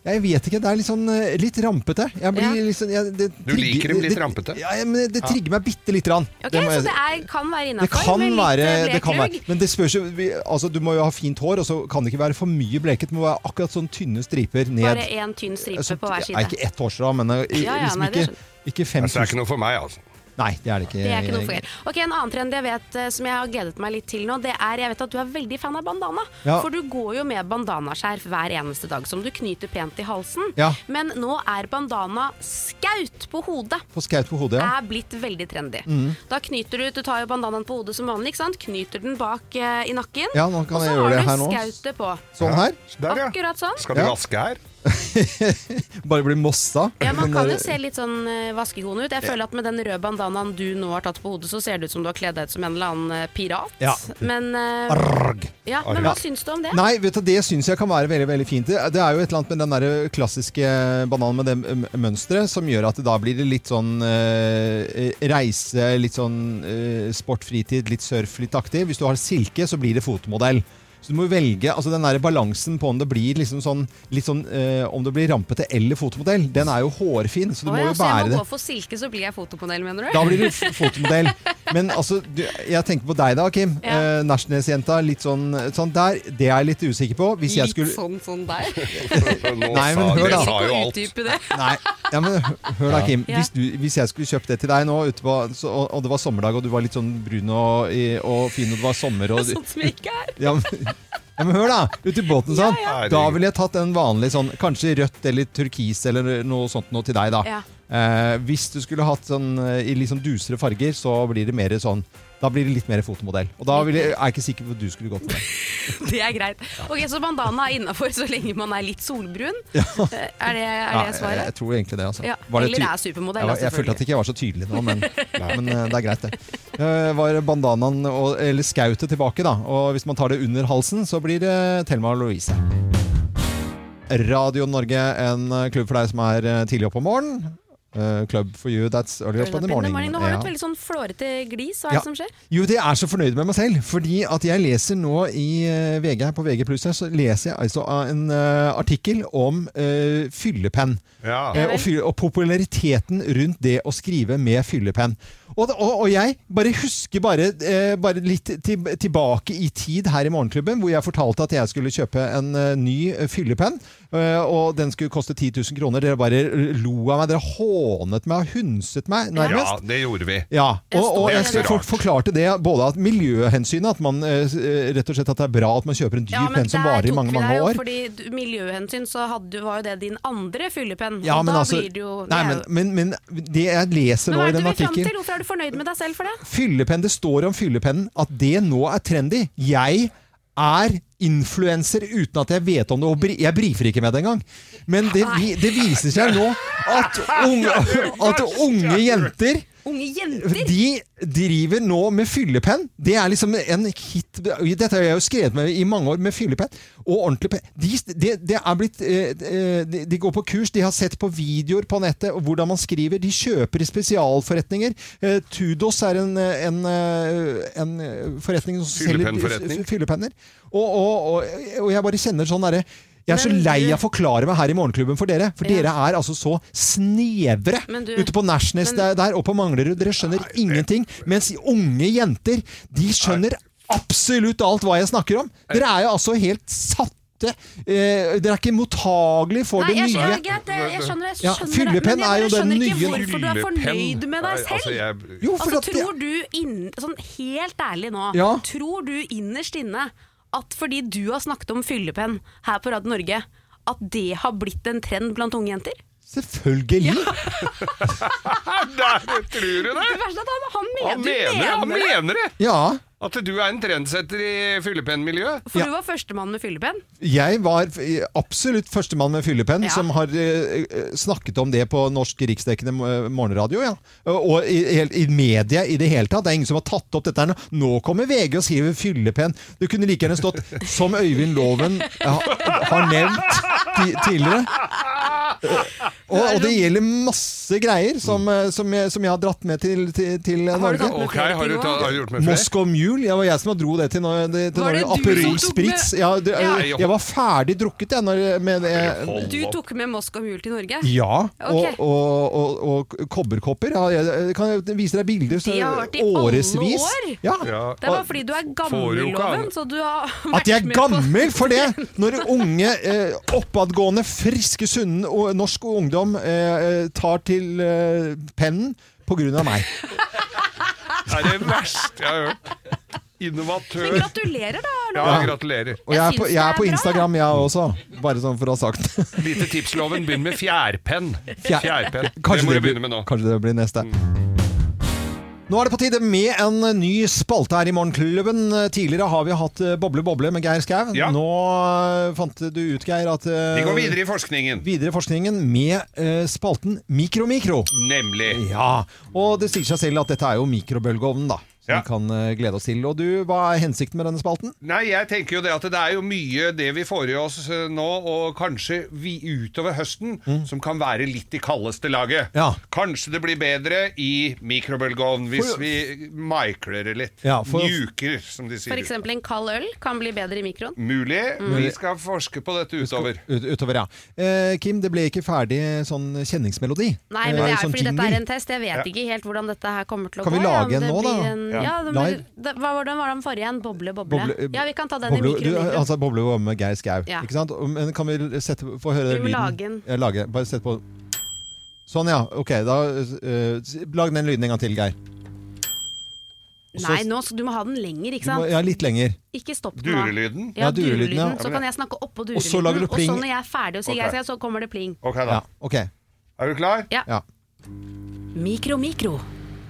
A: jeg vet ikke, Det er litt sånn eh, litt rampete. Jeg blir
B: Ja.
A: litt sånn- jeg, det,
C: Du liker
A: trigger-
C: dem litt
A: det-
C: rampete?
A: Ja, ja, men det trigger meg bitte lite grann.
B: Ok,
A: Det må jeg
B: så
A: si.
B: det er, kan være
A: Det
B: innafor? eh,
A: kan, være, det kan være. Men det spørs jo vi- altså, Du må jo ha fint hår, og så kan det ikke være for mye bleket. Det må være akkurat sånn tynne striper ned.
B: Bare én tynn stripe
A: Altså,
B: på
A: Nei,
B: hver side.
A: ikke ett hårstrå, men eh, i-
B: Ja, ja,
A: liksom
B: nei, det
A: ikke, ikke
C: Så det er
A: 5000.
C: ikke noe for meg, altså.
A: Nei, det er det ikke.
B: Det er ikke noe for Ok, En annen trend jeg vet eh, som jeg har gledet meg litt til nå, det er jeg vet at du er veldig fan av bandana.
A: Ja.
B: For du går jo med bandanaskjerf hver eneste dag som du knyter pent i halsen.
A: Ja.
B: Men nå er bandana skaut på hodet.
A: På skaut på hodet, ja. Mm.
B: Er blitt veldig trendy. Da knyter du Du tar jo bandanaen på hodet som vanlig, ikke sant? Knyter den bak eh, i nakken.
A: Ja, nå kan
B: og
A: jeg
B: så
A: gjøre det her
B: har du
A: nå.
B: skautet på.
A: Sånn her.
C: Der, ja.
B: Akkurat sånn.
C: Skal du
A: Ja.
C: vaske her?
A: Bare bli mossa.
B: Ja, Man
A: Men,
B: kan
A: eh,
B: jo se litt sånn eh, vaskekone ut. Jeg føler at med den røde bandanaen du nå har tatt på hodet, så ser det ut som du har kledd deg ut som en eller annen eh, pirat.
A: Ja.
B: Men, eh,
A: Arrg.
B: ja, men
A: Ja.
B: hva syns du om det?
A: Nei, vet du, det syns jeg kan være veldig veldig fint. Det det er jo et eller annet med den der klassiske bananen med det m- mønsteret som gjør at det da blir det litt sånn eh, reise, litt sånn eh, sport, fritid, litt surf, litt aktiv. Hvis du har silke, så blir det fotomodell. Så du må velge altså den der balansen på om det blir liksom sånn, litt sånn eh, om det blir rampete eller fotomodell. Den er jo hårfin, så du
B: Å
A: må
B: ja,
A: jo
B: så jeg
A: bære
B: må
A: det.
B: gå for silke, så blir jeg fotomodell, mener du?
A: Da blir du f- fotomodell. Men altså, du, jeg tenker på deg da, Kim. Ja.
B: Ja.
A: Nærsnes-jenta. Litt sånn, sånn der. Det er jeg litt usikker på. Hvis jeg
B: Litt
A: skulle
B: sånn sånn der.
C: Nå
A: Nei, men
C: sa,
A: hør
C: det
A: da.
C: sa jo
B: Ikke å
C: alt.
B: utdype det.
A: Nei, ja, men hør da, Kim.
B: Ja.
A: Hvis, du, hvis jeg skulle kjøpt det til deg nå, ute på, så, og, og det var sommerdag, og du var litt sånn brun og, i- og fin, og det var sommer og
B: Sånn som jeg ikke er.
A: ja, men, ja, men hør, da! Ute i båten sånn.
C: Ja, ja.
A: Da ville jeg tatt en vanlig sånn, kanskje rødt eller turkis eller noe sånt noe til deg, da.
B: Ja.
A: Eh, hvis du skulle hatt sånn eh, i litt sånn dusere farger, så blir det mer sånn da blir det litt mer fotomodell. Og da ville jeg, er jeg ikke sikker på hva du skulle gått for.
B: Det er greit. Ok, Så bandana er innafor så lenge man er litt solbrun? Eh, Er det, er
A: Ja,
B: det
A: jeg,
B: svaret?
A: jeg tror egentlig det, altså.
B: Ja.
A: Var det
B: Eller
A: ty-
B: er supermodell,
A: Jeg,
B: da,
A: var- jeg følte
B: selvfølgelig.
A: at ikke jeg var så tydelig nå, men, men eh, det er greit, det. Eh, var bandanaen og, eller skautet tilbake, da. Og hvis man tar det under halsen, så blir det Thelma og Louise. Radio Norge, en eh, klubb for deg som er eh, tidlig oppe om morgenen. Eh, club for you, that's early up in the morning.
B: Nå har du
A: Ja.
B: et veldig sånn flårete glis. Hva er
A: Ja.
B: det som skjer?
A: Jo, det er så fornøyd med meg selv, fordi at jeg leser nå i eh, VG her på VG+, her, så leser jeg altså av en eh, artikkel om eh, fyllepenn.
C: Ja.
A: Eh, og, fylle, og populariteten rundt det å skrive med fyllepenn. Og, og, og jeg bare husker bare, eh, bare litt til, tilbake i tid her i Morgenklubben, hvor jeg fortalte at jeg skulle kjøpe en eh, ny eh, fyllepenn, eh, og den skulle koste 10 000 kroner. Dere bare lo av meg, dere hånet meg og hunset meg nærmest.
C: ja, det gjorde vi.
A: Ja, og, og
C: Det er
A: jeg skal,
C: så
A: folk
C: rart.
A: forklarte det både at miljøhensynet, at man eh, s- eh, rett og slett at det er bra at man kjøper en dyr penn som varer i mange, mange
B: jo,
A: år.
B: Fordi du- miljøhensyn så hadde, du- var jo det din andre fyllepenn.
A: Ja,
B: og
A: men
B: da
A: altså,
B: blir det jo det
A: nei,
B: er
A: men,
B: jo-
A: men, men det jeg leser
B: Men
A: nå
B: hva
A: i
B: er
A: den
B: det du vil fram til?
A: artikkelen
B: Hvorfor er er du fornøyd med deg selv for det?
A: Fyllepenn, det står om fyllepennen at det nå er trendy. Jeg er influenser uten at jeg vet om det, og bri- jeg brifer ikke med det engang. Men det, vi- det viser seg nå at unge, at unge jenter
B: Unge jenter!
A: de driver nå med fyllepenn. Det er liksom en hit Dette har jeg jo skrevet med i mange år, med fyllepenn og ordentlig penn. De, det- det er blitt, eh, eh, de, de går på kurs, de har sett på videoer på nettet og hvordan man skriver. De kjøper i spesialforretninger. Eh, Tudos er en, eh, en, eh, en forretning som selger
C: Fyllepennforretning.
A: f- fyllepenner. Og, og, og, og jeg bare kjenner sånn derre jeg er så
B: Men
A: lei
B: du-
A: av å forklare meg her i Morgenklubben for dere, for
B: Ja.
A: dere er altså så snevre
B: Men du-
A: ute på Nashnes
B: Men-
A: der, der og på Manglerud. Dere skjønner ingenting. Mens unge jenter, de skjønner absolutt alt hva jeg snakker om. Dere er jo altså helt satte. Eh, dere er ikke mottagelige for
B: Nei,
A: det
B: jeg
A: nye.
B: skjønner, greit, jeg, jeg skjønner, jeg
A: Ja,
B: skjønner
A: fyllepenn
B: det, men jeg
A: er jo
B: bare
A: den
B: skjønner ikke
A: nye-
B: hvorfor du er fornøyd med deg selv.
C: Nei, altså, jeg,
A: Jo, for at
B: Altså,
A: det-
B: tror du inn, Sånn helt ærlig nå,
A: Ja.
B: tror du innerst inne at fordi du har snakket om fyllepenn her på Radio Norge, at det har blitt en trend blant unge jenter?
A: Selvfølgelig!
C: Der, tror du
B: Det
C: det?
B: verste er at han, han mener,
C: Han
B: du
C: mener det! Han
B: mener det!
C: mener det!
A: Ja.
C: At du er en trendsetter i fyllepennmiljøet.
B: For
A: Ja.
B: du var førstemann med fyllepenn.
A: Jeg var eh, absolutt førstemann med fyllepenn
B: Ja.
A: som har eh, eh, snakket om det på norsk riksdekkende eh, morgenradio. Ja. Og i, helt- i media i det hele tatt. Det er ingen som har tatt opp dette. her nå. Nå kommer VG og skriver fyllepenn. Det kunne like gjerne stått 'som Øyvind Loven ha- har nevnt ti tidligere'. Eh, Og, og det gjelder masse greier som, eh, som, jeg, som jeg har dratt med til, til, til eh,
B: Har du
A: Norge.
B: tatt med
C: Ok, har du, ta, har du gjort med flere?
A: Moscow Mule. Jeg var jeg som dro det til, Nor- det, til
B: Var det
A: Norge.
B: du som
A: Aperol
B: tok
A: Spritz.
B: med-
A: Ja, det,
B: Ja.
A: Jeg var ferdig drukket, jeg. Når, med, det-
B: Du tok med Moskva Mule til Norge.
A: ja, og,
B: Ok.
A: og, og, og kobberkopper. Ja, jeg kan jeg vise deg bilder. Så,
B: Det har vært i
A: årevis.
B: alle år.
A: Ja.
C: Ja.
B: Det var fordi du er
C: Får jo ikke
B: gammelloven,
C: an-
B: så du har vært
A: At jeg er
B: med på-
A: gammel for det! Når unge, eh, oppadgående, friske, sunne og norsk ungdom eh, eh, tar til eh, pennen på grunn av meg.
C: Det er det verste jeg har hørt.
B: Men
C: Innovatør.
B: gratulerer, da, Arne.
C: Ja, gratulerer.
A: Og jeg er
B: Jeg
A: på,
B: syns
A: jeg
B: det
A: er
B: er
A: på
B: bra,
A: Instagram, jeg også. Bare sånn for å ha sagt det.
C: Lite tipsloven. Begynn med fjærpenn.
A: Fjær-
C: Fjærpenn. Det
A: Kanskje
C: må
A: det,
C: du
A: blir,
C: begynne med nå. Mm.
A: kanskje det blir neste. Nå er det på tide med en ny spalte her i Morgenklubben. Tidligere har vi hatt eh, Boble boble med Geir Skau.
C: Ja.
A: Nå eh, fant du ut, Geir, at eh,
C: Vi går videre i forskningen.
A: videre i forskningen med eh, spalten Mikro-mikro.
C: Nemlig.
A: Ja, og det sier seg selv at dette er jo mikrobølgeovnen, da. Som
C: Ja.
A: vi kan eh, glede oss til. Og du, hva er hensikten med denne spalten?
C: Nei, jeg tenker jo det at det er jo mye det vi får i oss eh, nå, og kanskje vi utover høsten, som kan være litt i kaldeste laget.
A: Mm. Ja.
C: Kanskje det blir bedre i mikrobølgeovn hvis
A: For-
C: vi mikler det litt.
A: Ja, for-
C: Mjuker, som de
B: For
C: sier.
B: eksempel en kald øl kan bli bedre i mikroen.
C: Mulig.
A: Mm.
C: Vi skal forske på dette utover.
A: Ut, utover, ja. Eh, Kim, det ble ikke ferdig sånn kjenningsmelodi.
B: Nei, men det
A: Eh,
B: er
A: sånn
B: fordi dette
A: jingle.
B: er en test. Jeg vet ikke helt hvordan dette her kommer til å
A: Kan vi
B: gå. ja,
A: lage
B: men
A: en
B: det
A: nå, da?
B: blir en-
C: Ja.
B: Ja, det
A: Live?
B: blir, det, hva var den, var den forrige igjen? Boble, boble.
A: Boble- eh,
B: ja, vi kan ta den
A: Boble,
B: i mikro.
A: du,
B: mikro.
A: altså, boble og med Geir Skau.
B: Ja.
A: Ikke sant? Og- Men kan vi sette, få høre
B: Vi
A: lyden?
B: må lage den.
A: Ja, lage. Bare sett på. Sånn, ja. Ok, da eh, s- Lag den lyden en gang til, Geir. Og så-
B: Nei, nå, skal- du må ha den lenger, ikke
A: Du må-
B: sant?
A: Ja, litt lenger.
B: Ikke stopp den. da.
C: Durelyden.
A: Ja,
B: Ja,
A: durelyden, ja.
B: durelyden. Så kan jeg snakke oppå durelyden.
A: Og så lager du pling.
B: Og så når jeg er ferdig og sier
C: Ok.
B: jeg skal, så kommer det pling.
C: Ok, da.
A: Ja, ok.
C: Er du klar?
B: Ja.
A: Ja.
B: Mikro, mikro.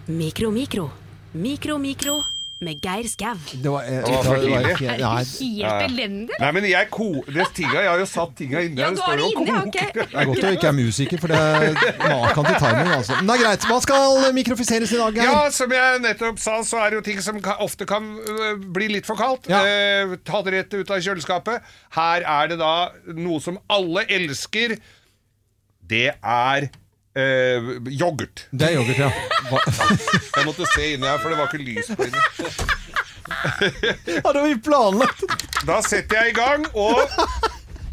B: Mikro, mikro. Mikro, mikro. Med Geir Skau.
A: Det var, eh,
C: var for
A: det var
C: tidlig.
A: ikke-
B: Er
A: Nei,
B: det helt elendig?
C: Nei, men jeg ko... Det tinga, jeg har jo satt tinga inne.
B: Ja,
C: det
B: du
C: står
B: har det
C: jo
B: inni, ja,
C: koker.
B: ok.
A: det er godt du ikke er musiker, for det er makan til timing. Altså. Men det er greit. Hva skal eh, mikrofiseres i dag, Geir?
C: Ja, som jeg nettopp sa, så er det jo ting som ka- ofte kan øh, bli litt for kaldt.
A: Ja.
C: Eh, ta det rett ut av kjøleskapet. Her er det da noe som alle elsker. Det er øh, yoghurt.
A: Det er yoghurt, ja. Hva-
C: Jeg måtte se inni her, for det var ikke lys på inni.
A: Hadde vi planlagt?
C: Da setter jeg i gang, og,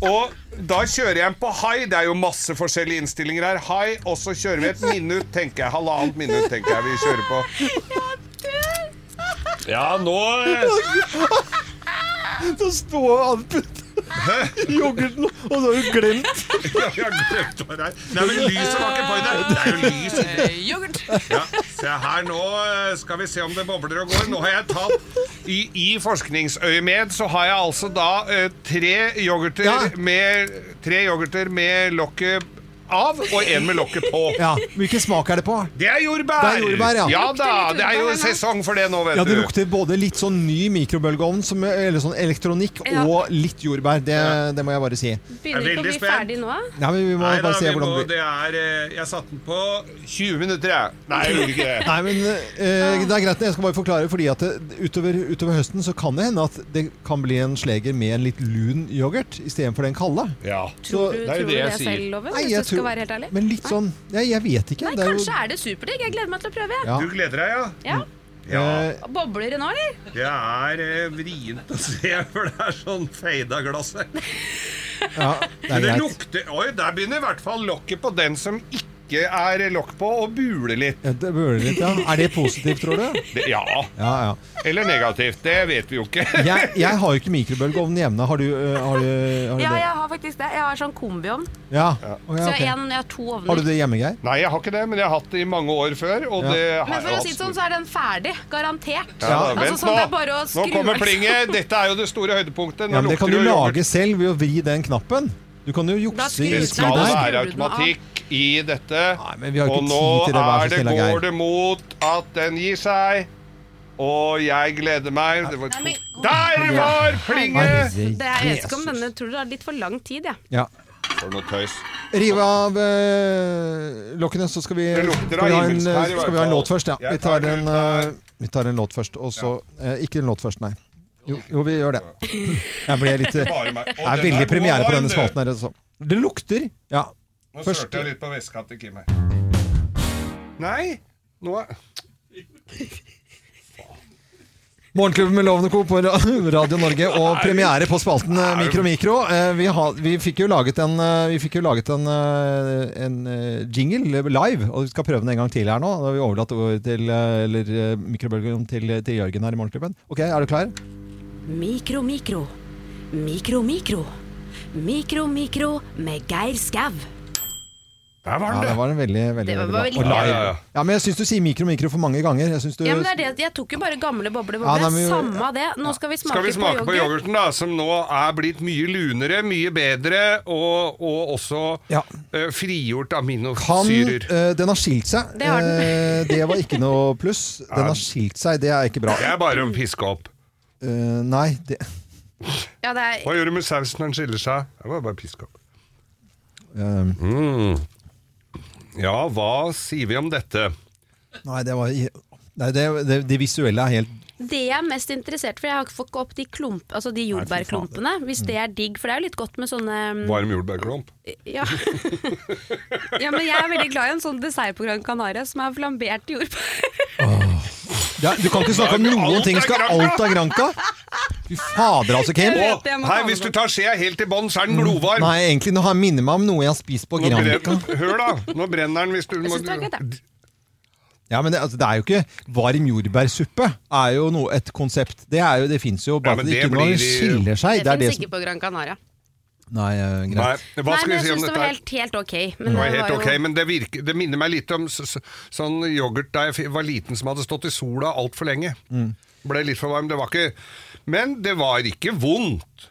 C: og da kjører jeg den på high. Det er jo masse forskjellige innstillinger her. High, og så kjører vi et minutt, tenker jeg. Halvannet minutt, tenker jeg vi kjører på. Ja, nå eh,
A: Så står Anput i yoghurten, og så har du glemt
C: Ja, jeg har glemt hva det er. Nei, men lyset var ikke på i det. Det er jo lys.
B: eh, Yoghurt.
C: Ja, se her, nå eh, skal vi se om det bobler og går. Nå har jeg tatt I, i forskningsøyemed så har jeg altså da eh, tre yoghurter
A: Ja.
C: med Tre yoghurter med lokket av og en med lokket på.
A: Ja, Hvilken smak er det på?
C: Det er jordbær!
A: Det er jordbær, ja.
C: da,
B: Lukter litt
C: det er jo
B: jordbær nå.
C: sesong for det nå, vet
A: Ja, Det
C: du.
A: lukter både litt sånn ny mikrobølgeovn, som- eller sånn elektronikk,
B: Ja.
A: og litt jordbær. Det, det må jeg bare si.
B: Begynner
C: Jeg er
B: ikke å bli
C: veldig spent.
B: ferdig nå?
A: Nei, men Vi må
C: Nei, da,
A: bare se
C: vi må,
A: hvordan det blir.
C: det er eh, Jeg satte den på 20 minutter, jeg. Nei, jeg gjorde ikke det.
A: Nei, men eh, Det er greit, jeg skal bare forklare. fordi at det, utover, utover høsten så kan det hende at det kan bli en sleger med en litt lun yoghurt istedenfor den kalde.
C: Ja.
A: Så-
B: Tror du
C: det er
B: tror du
C: jo det
B: det
C: jeg
B: er
C: sier.
B: selv, Loven?
A: Nei, jeg
B: Hvis du skal
A: tror-
B: være helt ærlig?
A: Men litt sånn Nei, jeg vet ikke.
B: Nei,
A: det er jo-
B: kanskje er det superdigg. Jeg gleder meg til å prøve. jeg.
A: Ja.
C: Du gleder deg, ja?
B: Ja.
C: Ja.
A: Eh,
B: Bobler det nå, eller?
C: Det er eh, vrient å se, for det er sånn feida glass her.
A: ja, det er
C: Men det
A: greit.
C: lukter Oi, der begynner i hvert fall lokket på den som ikke er lokk på, å bule litt.
A: Ja, Det burde litt, ja. Er det positivt, tror du?
C: Det, ja.
A: Ja, ja.
C: Eller negativt. Det vet vi jo ikke.
A: Jeg, jeg har jo ikke mikrobølgeovn hjemme. Har du, øh, har du, har du
B: Ja,
A: det?
B: jeg har faktisk det. Jeg har sånn kombiovn.
A: Ja. Å, ja,
B: Så
A: ok.
B: jeg har en, jeg har to
A: Har
B: ovner.
A: du det hjemme, Geir?
C: Nei, jeg har ikke det, men jeg har hatt det i mange år før. Og
A: Ja.
C: det
B: Men
C: har
B: for å
C: jeg
B: si det
C: absolutt.
B: sånn, så er den ferdig. Garantert.
C: Ja, da,
A: Altså,
C: vent
B: sånn, det er bare
C: nå.
B: å
C: Nå
B: skru
C: kommer
B: av.
C: plinget. Dette er jo det store høydepunktet. Nå
A: Ja, men det kan du
C: lukter det jo
A: lage
C: yoghurt.
A: selv ved å vri den knappen. Du kan jo
B: Da
A: jukse
B: skrur
A: i
C: Det
B: du
A: skru
C: skal
B: Nei,
A: der.
C: være
B: skrur du den av?
C: automatikk i dette.
A: Nei, men vi har jo
C: Og
A: ikke
C: nå
A: tid til det, vær så
C: er det,
A: snill, da, Geir.
C: går det mot at den gir seg. Og jeg gleder meg. Det var
B: men-
C: Der var plinget!
A: Herre
B: Det er, jeg vet ikke om
A: Jesus.
B: denne tror det har litt for lang tid, jeg.
A: Ja.
C: For noe tøys.
A: Rive av øh, lokkene, så skal vi,
C: Det lukter
A: skal
C: av
A: vi, ha, en,
C: himmelsk her i
A: skal vi
C: hvert
A: ha en
C: fall.
A: låt først. Ja.
C: Jeg
A: Vi tar
C: tar
A: en,
C: ut her.
A: øh, vi tar en låt først, og så eh, Ikke en låt først, nei. Jo, jo, vi gjør det. Jeg ble litt Det
C: Bare meg. Og
A: er
C: den
A: veldig
C: god
A: premiere
C: og
A: på
C: varm,
A: denne
C: du.
A: spalten her. altså. Det lukter. Ja.
C: Nå
A: Først-
C: sørte jeg litt på veska til Kim her. Nei, nå er
A: Morgenklubben med Lovende Co. på Ra- Radio Norge og premiere på spalten eh, Mikro Mikro. Eh, Vi, ha, vi fikk jo laget en, eh, vi fikk jo laget en, eh, en eh, jingle live, og vi skal prøve den en gang til her nå. Da har vi overlatt ordet til, eh, eller eh, mikrobølgen til, til Jørgen her i Morgenklubben. Ok, er du klar?
B: Mikro, mikro. Mikro, mikro. Mikro, mikro med Geir Skau.
C: Der
A: Ja,
C: var den,
A: det
C: det.
A: var en veldig, veldig,
B: Det var
A: veldig bra.
B: veldig
A: Og
B: bra.
A: live.
C: Ja, ja, ja.
A: Ja, men jeg syns du sier Mikro Mikro for mange ganger. Jeg synes du...
B: Ja, men det er det. Jeg tok jo bare gamle boble boble.
A: Ja, nei, men-
B: Samme det. Nå skal vi smake,
C: Skal vi smake på
B: yoghurt.
C: yoghurten, da, som nå er blitt mye lunere, mye bedre, og, og også
A: Ja.
C: eh, frigjort
A: Han,
C: aminosyrer.
A: eh, den har skilt seg.
B: Det har den.
A: Eh, det var ikke noe pluss. Den har skilt seg, det er ikke bra.
C: Det er bare å piske opp.
A: Eh, nei, det
B: Ja, det er
C: Hva gjør du med sausen når den skiller seg? Det var bare piske opp.
A: eh,
C: Ja, hva sier vi om dette?
A: Nei, det var Nei, det, det, det visuelle er helt
B: det jeg er mest interessert for. Jeg har ikke fått opp de, klump, altså de jordbærklumpene, hvis det er digg. For det er jo litt godt med sånne um,
C: Varm jordbærklump?
B: ja. ja, men jeg er veldig glad i en sånn dessert på Gran Canaria som er flambert jordbær.
A: ja, Du kan ikke snakke om noen ting skal alt av granka! Fy fader, altså, Kim.
B: Jeg vet
C: Og
B: det, jeg må
C: hei,
B: ta med
C: hvis du
B: meg.
C: tar skjea helt i bånn, så er den glovarm.
A: Nei, egentlig nå har jeg minner meg om noe jeg har spist på
C: Nå
A: granka.
C: brenner, hør, da. Nå brenner den hvis du
B: Jeg
C: må
B: synes det er greit, jeg.
A: Ja, men det, altså, det er jo ikke Varm jordbærsuppe er jo noe, et konsept. Det, er jo, det fins jo,
C: Ja,
A: bare
C: men
A: at det
C: det
A: ikke noe
C: blir i-
A: skiller seg.
B: Det
A: Det er det
B: fins
A: som
B: ikke på Gran Canaria.
A: Nei, eh,
C: Nei,
A: greit.
C: hva
B: Nei,
C: skal
B: men
C: vi
B: jeg
C: si om
B: syns det
C: dette?
B: var
C: her?
B: helt, helt ok. Men
C: Det var helt
B: jo-
C: ok, men det, virker, det minner meg litt om s- s- sånn yoghurt da jeg fi- var liten som hadde stått i sola altfor lenge. Ble litt for varm. Det var ikke Men det var ikke vondt.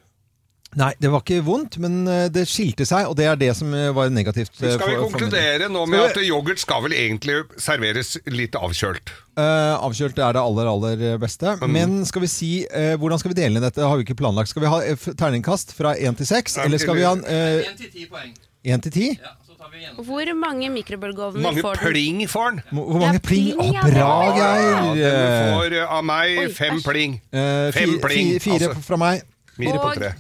A: Nei, det var ikke vondt, men eh, det skilte seg, og det er det som eh, var negativt. eh,
C: Skal
A: for- for
C: vi
A: min del.
C: konkludere nå med at yoghurt skal vel egentlig serveres litt avkjølt?
A: Eh, avkjølt er det aller, aller beste.
C: Mm.
A: Men skal vi si, eh, hvordan skal vi dele inn dette? Det har vi ikke planlagt. Skal vi ha eh, f- terningkast fra 1 til 6,
C: Ja,
A: eller skal vi ha en, eh,
J: 1 til 10 poeng.
A: 1 til 10?
J: Ja, så tar vi igjen.
B: Hvor mange mikrobølgeovner
C: Mange
B: får du?
C: pling får den.
A: Hvor hvor mange
B: Ja,
A: pling?
B: pling,
A: Å,
B: ja,
A: bra,
B: det var
A: Geir!
C: Ja, den
A: Eh,
C: får eh,
B: Oi,
C: av meg fem
B: æsj.
C: pling.
A: eh,
C: Fem
A: fi-
C: pling,
A: fi- Fire
C: altså.
A: fra meg.
C: Fire på
B: Og-
C: tre.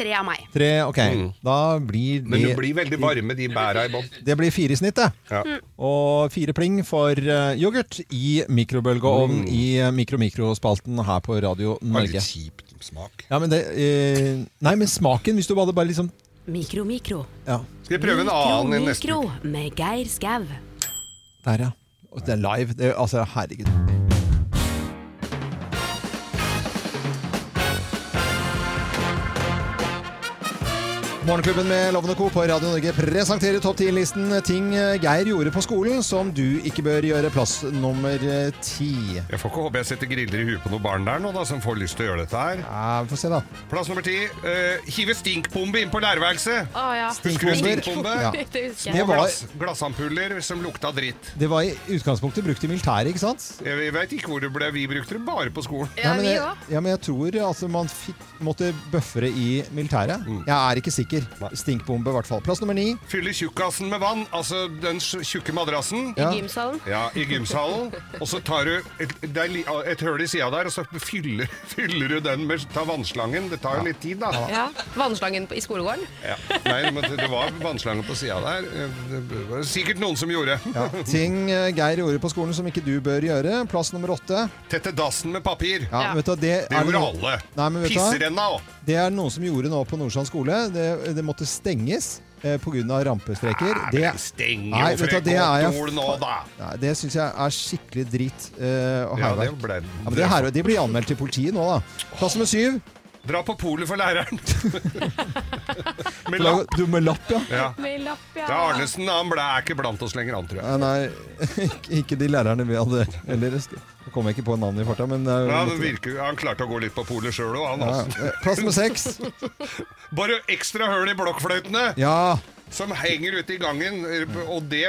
B: Tre av meg.
A: Tre, ok. Da blir
C: Mm. Men du
A: det
C: blir veldig varme, de bæra i bånn.
A: det blir fire i snitt, det.
C: Ja.
B: Mm.
A: Og fire pling for eh, yoghurt i
C: Mm.
A: mikrobølgeovn i eh, mikro-mikrospalten her på Radio
C: Det var Litt
A: Norge.
C: kjip smak.
A: Ja, men det, eh, nei, men smaken, hvis du bare, bare liksom
B: Mikro, mikro.
A: ja.
C: Skal vi prøve en annen i neste uke?
B: med Geir Skau.
A: Der, ja. Og Det er live. Det, altså, herregud. Morgenklubben med Lovende Co. på Radio Norge presenterer topp 10-listen ting eh, Geir gjorde på skolen som du ikke bør gjøre. Plass nummer eh, ti.
C: Jeg får ikke håpe jeg setter griller i huet på noen barn der nå, da, som får lyst til å gjøre dette her.
A: Ja, vi får se, da.
C: Plass nummer ti. eh, hive stinkbombe inn på lærerværelset.
B: Å ja.
C: Husker du stinkbombe?
A: Ja.
B: Det husker
A: Det
B: jeg.
C: Og
A: var-
C: glass, glassampuller som lukta dritt.
A: Det var i utgangspunktet brukt i militæret, ikke sant?
C: Jeg veit ikke hvor det ble. Vi brukte det bare på skolen.
A: Nei,
B: Ja,
A: men
B: vi
A: jeg,
B: òg.
A: ja, men jeg tror altså, man fikk, måtte bøffere i militæret. Jeg er ikke sikker.
C: Mm. Nei.
A: Stinkbombe, i hvert fall. Plass nummer ni.
C: Fylle tjukkasen med vann, altså den sj- tjukke madrassen.
A: Ja.
B: Gymsalen.
C: Ja, i gymsalen. Og så tar du et, det er li- et høl i sida der, og så fyller, fyller du den med ta vannslangen. Det tar jo litt tid, da.
B: Ja. Vannslangen på- i skolegården.
C: Ja. Nei, men det- det var vannslange på sida der. Eh, Det var sikkert noen som gjorde.
A: Ting eh, Geir gjorde på skolen som ikke du bør gjøre. Plass nummer åtte.
C: Tette dassen med papir.
A: Ja,
B: Ja.
A: Vet du, det,
C: Det
A: er
C: gjorde
A: noe-
C: alle.
A: Nei, men vet du hva?
C: Pisserenna òg.
A: Det er noen som gjorde nå på Nordstrand skole. Det, det måtte stenges eh, pga. rampestreker.
C: Ah,
A: Det,
C: Stenger
A: Nei,
C: jo
A: vet du hva, det
C: Fredrik
A: er jeg-
C: Holt Nord nå, da.
A: Nei, det syns jeg er skikkelig dritt eh, og
C: Ja, det
A: hærverk.
C: ble
A: Ja, men det, er hærverk. de blir anmeldt til politiet nå, da. Plass nummer syv.
C: Dra på polet for læreren. Med lapp.
A: Du med lapp, ja.
C: Ja.
B: Med lapp,
C: Det er Arnesen han ble, er ikke blant oss lenger, han tror jeg.
A: Ja, Nei, ikke- ikke de lærerne vi hadde Eller Nå kom jeg ikke på navnet i farta, men eh,
C: Ja, han,
A: måtte-
C: virker, han klarte å gå litt på polet sjøl òg, han.
A: ja.
C: altså.
A: Eh, Plass nummer seks.
C: Bare ekstra høl i blokkfløytene
A: Ja.
C: som henger ute i gangen. Og det,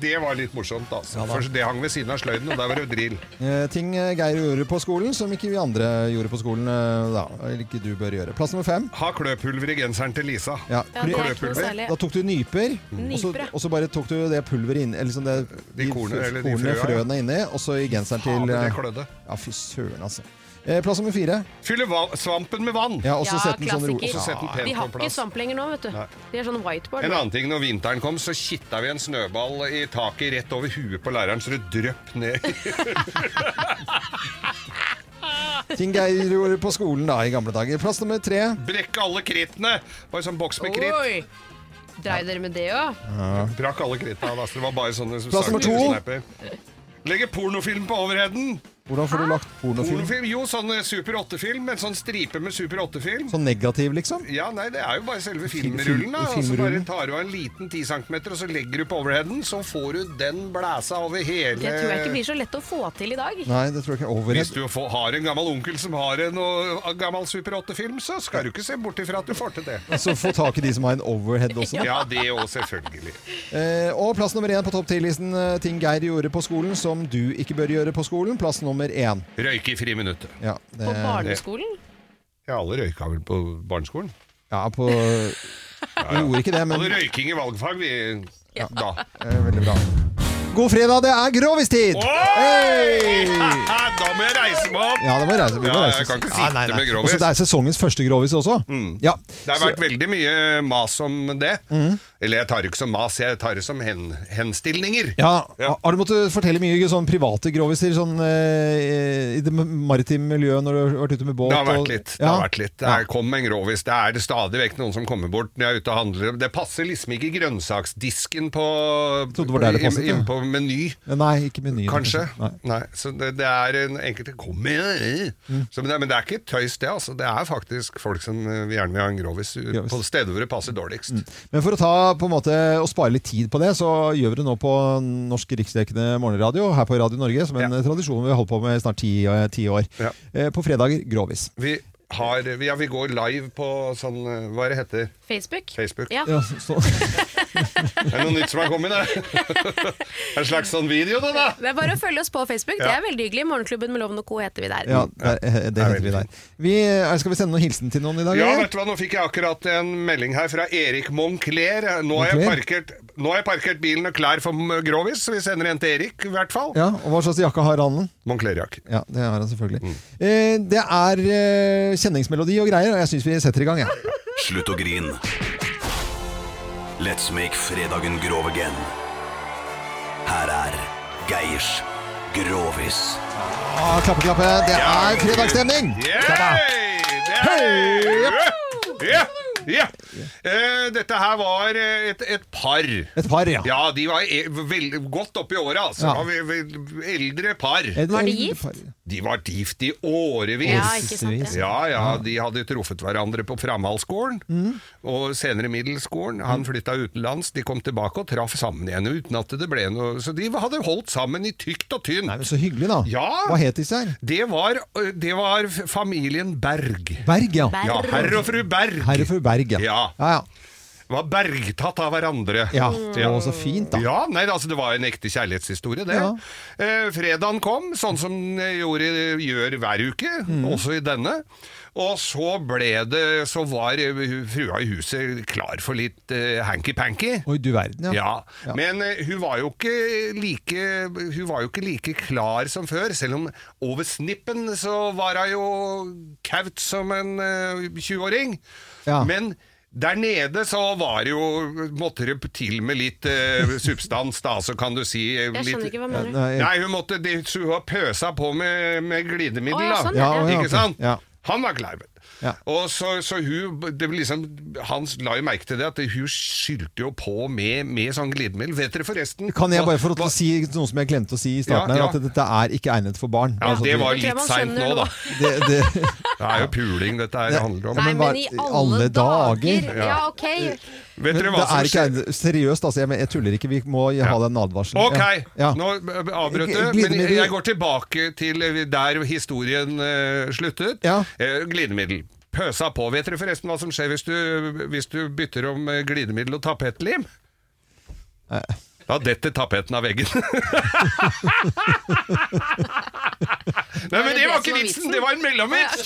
C: det var litt morsomt, altså.
A: Ja da.
C: For det hang ved siden av sløyden, og der var det drill.
A: eh, Ting eh, Geir gjorde på skolen som ikke vi andre gjorde på skolen. eh, Da. Eller ikke du bør gjøre. Plass nummer fem.
C: Ha kløpulver i genseren til Lisa.
A: Ja,
B: Ja, det er ikke
C: Kløpulver.
B: noe særlig.
A: Da tok du nyper, og, så,
B: Nyper, ja.
A: og så bare tok du det pulveret inn, eller liksom det,
C: De kornene, eller de
A: kornene,
C: frøa, ja.
A: frøene inni, og så i genseren til
C: Faen, det
A: eh,
C: klødde.
A: Ja, fy søren, altså. Eh, Plass nummer fire.
C: Fylle va- svampen med vann.
A: Ja, og så
B: Ja,
A: sett den sånn ro.
B: klassiker.
C: Og så sett den pent
B: De
C: på
B: har ikke
C: plass.
B: svamp lenger nå, vet du.
C: Nei.
B: De er sånn whiteboard.
C: En
B: nå.
C: annen ting, når vinteren kom, så kitta vi en snøball i taket rett over huet på læreren, så det drøpp ned.
A: Ting Geir gjorde på skolen da i gamle dager. Plass nummer tre.
C: Brekke alle krittene! Bare sånn boks med kritt.
B: Oi! Dreier dere med det òg?
C: Brakk alle kritta. da, så Det var bare sånne
A: Plass nummer to.
C: snapper. Legge pornofilm på overheden.
A: Hvordan får du lagt pornofilm?
C: Pornofilm, Jo, sånn eh, Super 8-film. En sånn stripe med Super 8-film.
A: Så negativ, liksom?
C: Ja, nei, Det er jo bare selve
A: Film-
C: filmrullen. da, Og så bare
A: filmrullen.
C: tar du av en liten 10 cm, og så legger du på overheden. Så får du den blæsa over hele
B: Det tror jeg ikke blir så lett å få til i dag.
A: Nei, det tror jeg ikke. Overhead.
C: Hvis du får, har en gammel onkel som har en og, en gammel Super 8-film, så skal du ikke se bort ifra at du får til det.
A: Altså, få tak i de som har en overhead også.
C: Ja, det òg, selvfølgelig.
A: Eh, og plass nummer én på topp ti-listen. eh, Ting Geir gjorde på skolen som du ikke bør gjøre på skolen. Plass nummer én.
C: Røyke i friminuttet.
A: Ja, det,
B: På barneskolen.
C: Ja, alle røyka vel på barneskolen?
A: ja, på Vi gjorde ikke det, men
C: Hadde røyking i valgfag, vi da.
A: Eh, Veldig bra. God fredag, det er grovistid!
C: Oi!
A: Hey!
C: da må jeg reise meg opp!
A: Ja, det må reise. Vi må
C: Ja,
A: reise.
C: jeg kan ikke
A: Ja,
C: sitte
A: nei, nei.
C: med grovis. Mm.
A: Også, det er sesongens første grovis også. Ja.
C: Det har vært veldig mye mas om det.
A: Mm.
C: Eller jeg tar det ikke som mas, jeg tar det som hen, henstillinger.
A: Ja,
C: Ja.
A: Har du måttet fortelle mye sånn private groviser sånn, eh, i det maritime miljøet når du har vært ute med båt?
C: Det har
A: og-
C: vært litt. Det
A: Ja.
C: har vært litt. Det er, kom en grovis. Det er det stadig vekk noen som kommer bort når jeg er ute og handler. Det passer liksom ikke i grønnsaksdisken på,
A: trodde det var der det
C: inn-
A: passet, ja.
C: inn på Meny.
A: Nei, ikke menyen.
C: Kanskje. Nei.
A: Nei.
C: Så det, det er en enkelte Kom igjen!
A: Mm.
C: Så, men, det, men det er ikke tøys, det. altså. Det er faktisk folk som eh, gjerne vil ha en grovis ut
A: Grovis.
C: på steder hvor det passer dårligst.
A: Men for å ta på en måte og spare litt tid på det, så gjør vi det nå på Norsk Riksdekkende Morgenradio her på Radio Norge, som en
C: Ja.
A: tradisjon vi har holdt på med i snart ti, eh, ti år.
C: Ja.
A: Eh, På fredager grovis.
C: Vi, har, vi- ja, vi går live på sånn eh, Hva er det heter?
B: Facebook.
C: Facebook?
B: Ja.
A: Ja, så,
C: Er det noe nytt som har kommet der? en slags sånn video, det, da!
B: Det er bare å følge oss på Facebook. Det er veldig hyggelig. Morgenklubben med Loven og Co heter vi der.
A: ja, der, eh, det heter vi der. Vi, eh, skal vi sende noen hilsen til noen i dag?
C: Ja,
A: eller?
C: vet du hva, nå fikk jeg akkurat en melding her fra Erik Moncler. Nå har jeg
A: Moncler?
C: parkert, nå har jeg parkert bilen og klær for m- grovis, så vi sender en til Erik, i hvert fall.
A: ja, og hva slags jakke har han?
C: Moncler-jakke.
A: Ja, det har han selvfølgelig.
C: Mm.
A: Eh, det er eh, kjenningsmelodi og greier, og jeg syns vi setter i gang, jeg. Ja.
E: Slutt å grin. Let's make fredagen grov again. Her er Geirs Grovis.
A: Ah, klappe, klappe. Det er fredagsstemning!
C: Yay! Det er-
A: Hei!
C: Ja! Ja. Eh, dette her var eh, et, et par.
A: Et par, ja.
C: Ja, de var e vel, godt oppi åra, altså.
A: Ja.
C: Var vi- vi- Eldre par.
A: Et-
B: Var de
A: et
B: gift?
A: par.
C: De var gift i
B: Ja,
C: årevis.
B: ikke sant. Ja.
C: Ja, ja, de hadde truffet hverandre på Framhaldsskolen og senere Middelskolen. Han flytta utenlands, de kom tilbake og traff sammen igjen uten at det ble noe Så de hadde holdt sammen i tykt og
A: Nei, men
C: tynt.
A: Så hyggelig, da.
C: Ja.
A: Hva het disse her?
C: Det var, det var familien Berg.
A: Berg, ja.
B: Berg.
C: Ja, herr og fru Berg.
A: Herre for Berg, ja.
C: Ja.
A: ja, ja.
C: Var bergtatt av hverandre.
A: Ja, Å, så fint, da.
C: Mm. Ja, nei, altså Det var en ekte kjærlighetshistorie, det.
A: Ja.
C: Eh, fredagen kom, sånn som den gjorde, gjør hver uke,
A: Mm.
C: også i denne. Og så ble det Så var eh, frua i huset klar for litt eh, hanky-panky.
A: Oi, du verden, ja.
C: Ja, men eh, hun var, jo ikke like, hun var jo ikke like klar som før, selv om over snippen så var hun jo kaut som en eh, 20-åring.
A: Ja.
C: Men der nede så var det jo Måtte det til med litt eh, substans, da, så kan du si eh,
B: Jeg skjønner
C: litt,
B: ikke hva du mener.
A: Nei,
C: Nei, hun måtte det, Hun har pøsa på med, med
B: Å,
C: glidemiddel,
B: ja,
C: da.
B: sånn, ja.
A: Ja, å, ja, ok.
C: Ikke sant?
A: Ja.
C: Han var klar. vet du.
A: Ja.
C: Og så, så hun det var liksom, Han la jo merke til det, at hun skyldte jo på med, med sånn glidemiddel. Vet dere forresten
A: Kan jeg
C: hva-
A: bare få lov til
C: hva-
A: å si noe som jeg glemte å si i starten?
C: Ja,
A: her,
C: ja.
A: At dette er ikke egnet for barn.
C: Ja,
A: Altså,
C: det var
B: tror jeg
C: litt
B: man
C: seint nå,
B: skjønner
C: da.
B: nå.
A: det, det,
C: Det er jo puling dette her handler om.
A: Ja,
B: Nei,
A: men
B: men
A: hva-
B: i alle dager!
A: dager?
B: Ja, ok.
C: Vet
A: Men
C: dere
A: det
C: hva som
A: er ikke
C: skjer?
A: egnet, seriøst, altså. Jeg, men- jeg tuller ikke. Vi må ha den advarselen.
C: Ok,
A: Ja. Ja.
C: nå avbrøt du, men
A: Glidemiddel-
C: jeg går tilbake til der historien eh, sluttet.
A: Ja.
C: Eh, glidemiddel. Pøsa på. Vet dere forresten hva som skjer hvis du, hvis du bytter om eh, glidemiddel og tapetlim?
A: Eh.
C: Da detter tapeten av veggen. Nei, men det var
B: som
C: ikke
B: var
C: vitsen!
B: vitsen?
C: Det var en mellomvits!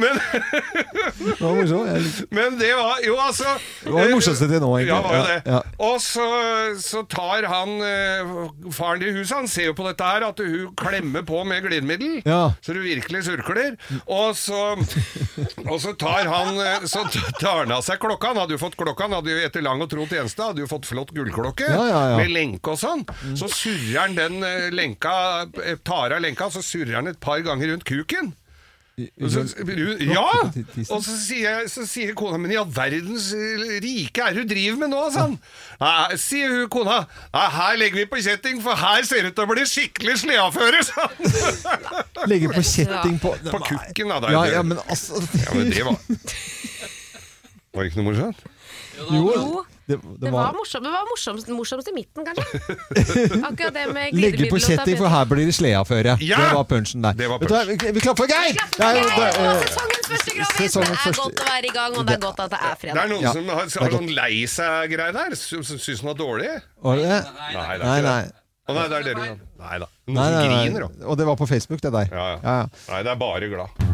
C: Men
A: Det var morsomt. Jeg-
C: men det var jo altså
A: Det var det morsomste til nå, egentlig.
C: Ja, var jo det.
A: Ja, ja.
C: Og så, så tar han eh, faren i huset, han ser jo på dette her, at hun klemmer på med glidemiddel,
A: Ja.
C: så du virkelig surkler. Og så, og så tar han eh, Så tar han av seg klokka. Han hadde jo fått klokka, han hadde jo etter lang og tro tjeneste hadde jo fått flott gullklokke
A: Ja, ja, ja.
C: med lenke og sånn. Så surrer han den eh, lenka, eh, tar av lenka, så surrer han et par ganger rundt kuken. Og så, ja! Og så sier, jeg- så sier kona min Ja, verdens rike er det du driver med nå, sa han. Nei, sier hun kona. Nei, her legger vi på kjetting, for her ser det ut til å bli skikkelig sleaføre, sa han.
A: Legge på kjetting på
C: På kukken, da. Det, er
A: Ja,
C: det.
A: ja, men altså
C: ja, men det var Var det ikke noe morsomt?
B: Jo,
A: det,
B: det var morsomt. Det var morsomst, morsomst i midten, kanskje. Akkurat det med
A: Legge på
B: glidemiddel og
A: kjetting, for her blir det sleaføre.
C: Ja!
A: Det var punchen der.
C: Det var
A: Vet du hva, vi, vi klapper for Geir! Det er jo- det
B: Det var
A: er- eh,
B: sesongens første Grammis! Det
A: Sesongens
B: er
A: første-
B: godt å være i gang, og det er godt at det er
C: Det er
B: fredag.
C: noen
A: Ja,
C: som har,
A: er
C: har sånn lei seg-greie der. Som som syns den var dårlig.
A: Var det det?
C: Nei, det er
A: Nei,
C: ikke
A: nei.
C: det. Å, nei, det er dere. Nei da. Noen
A: Nei,
C: som
A: nei,
C: griner, da.
A: nei. Og det var på Facebook, det der.
C: Ja, ja.
A: Ja, ja.
C: Nei, det er bare glad.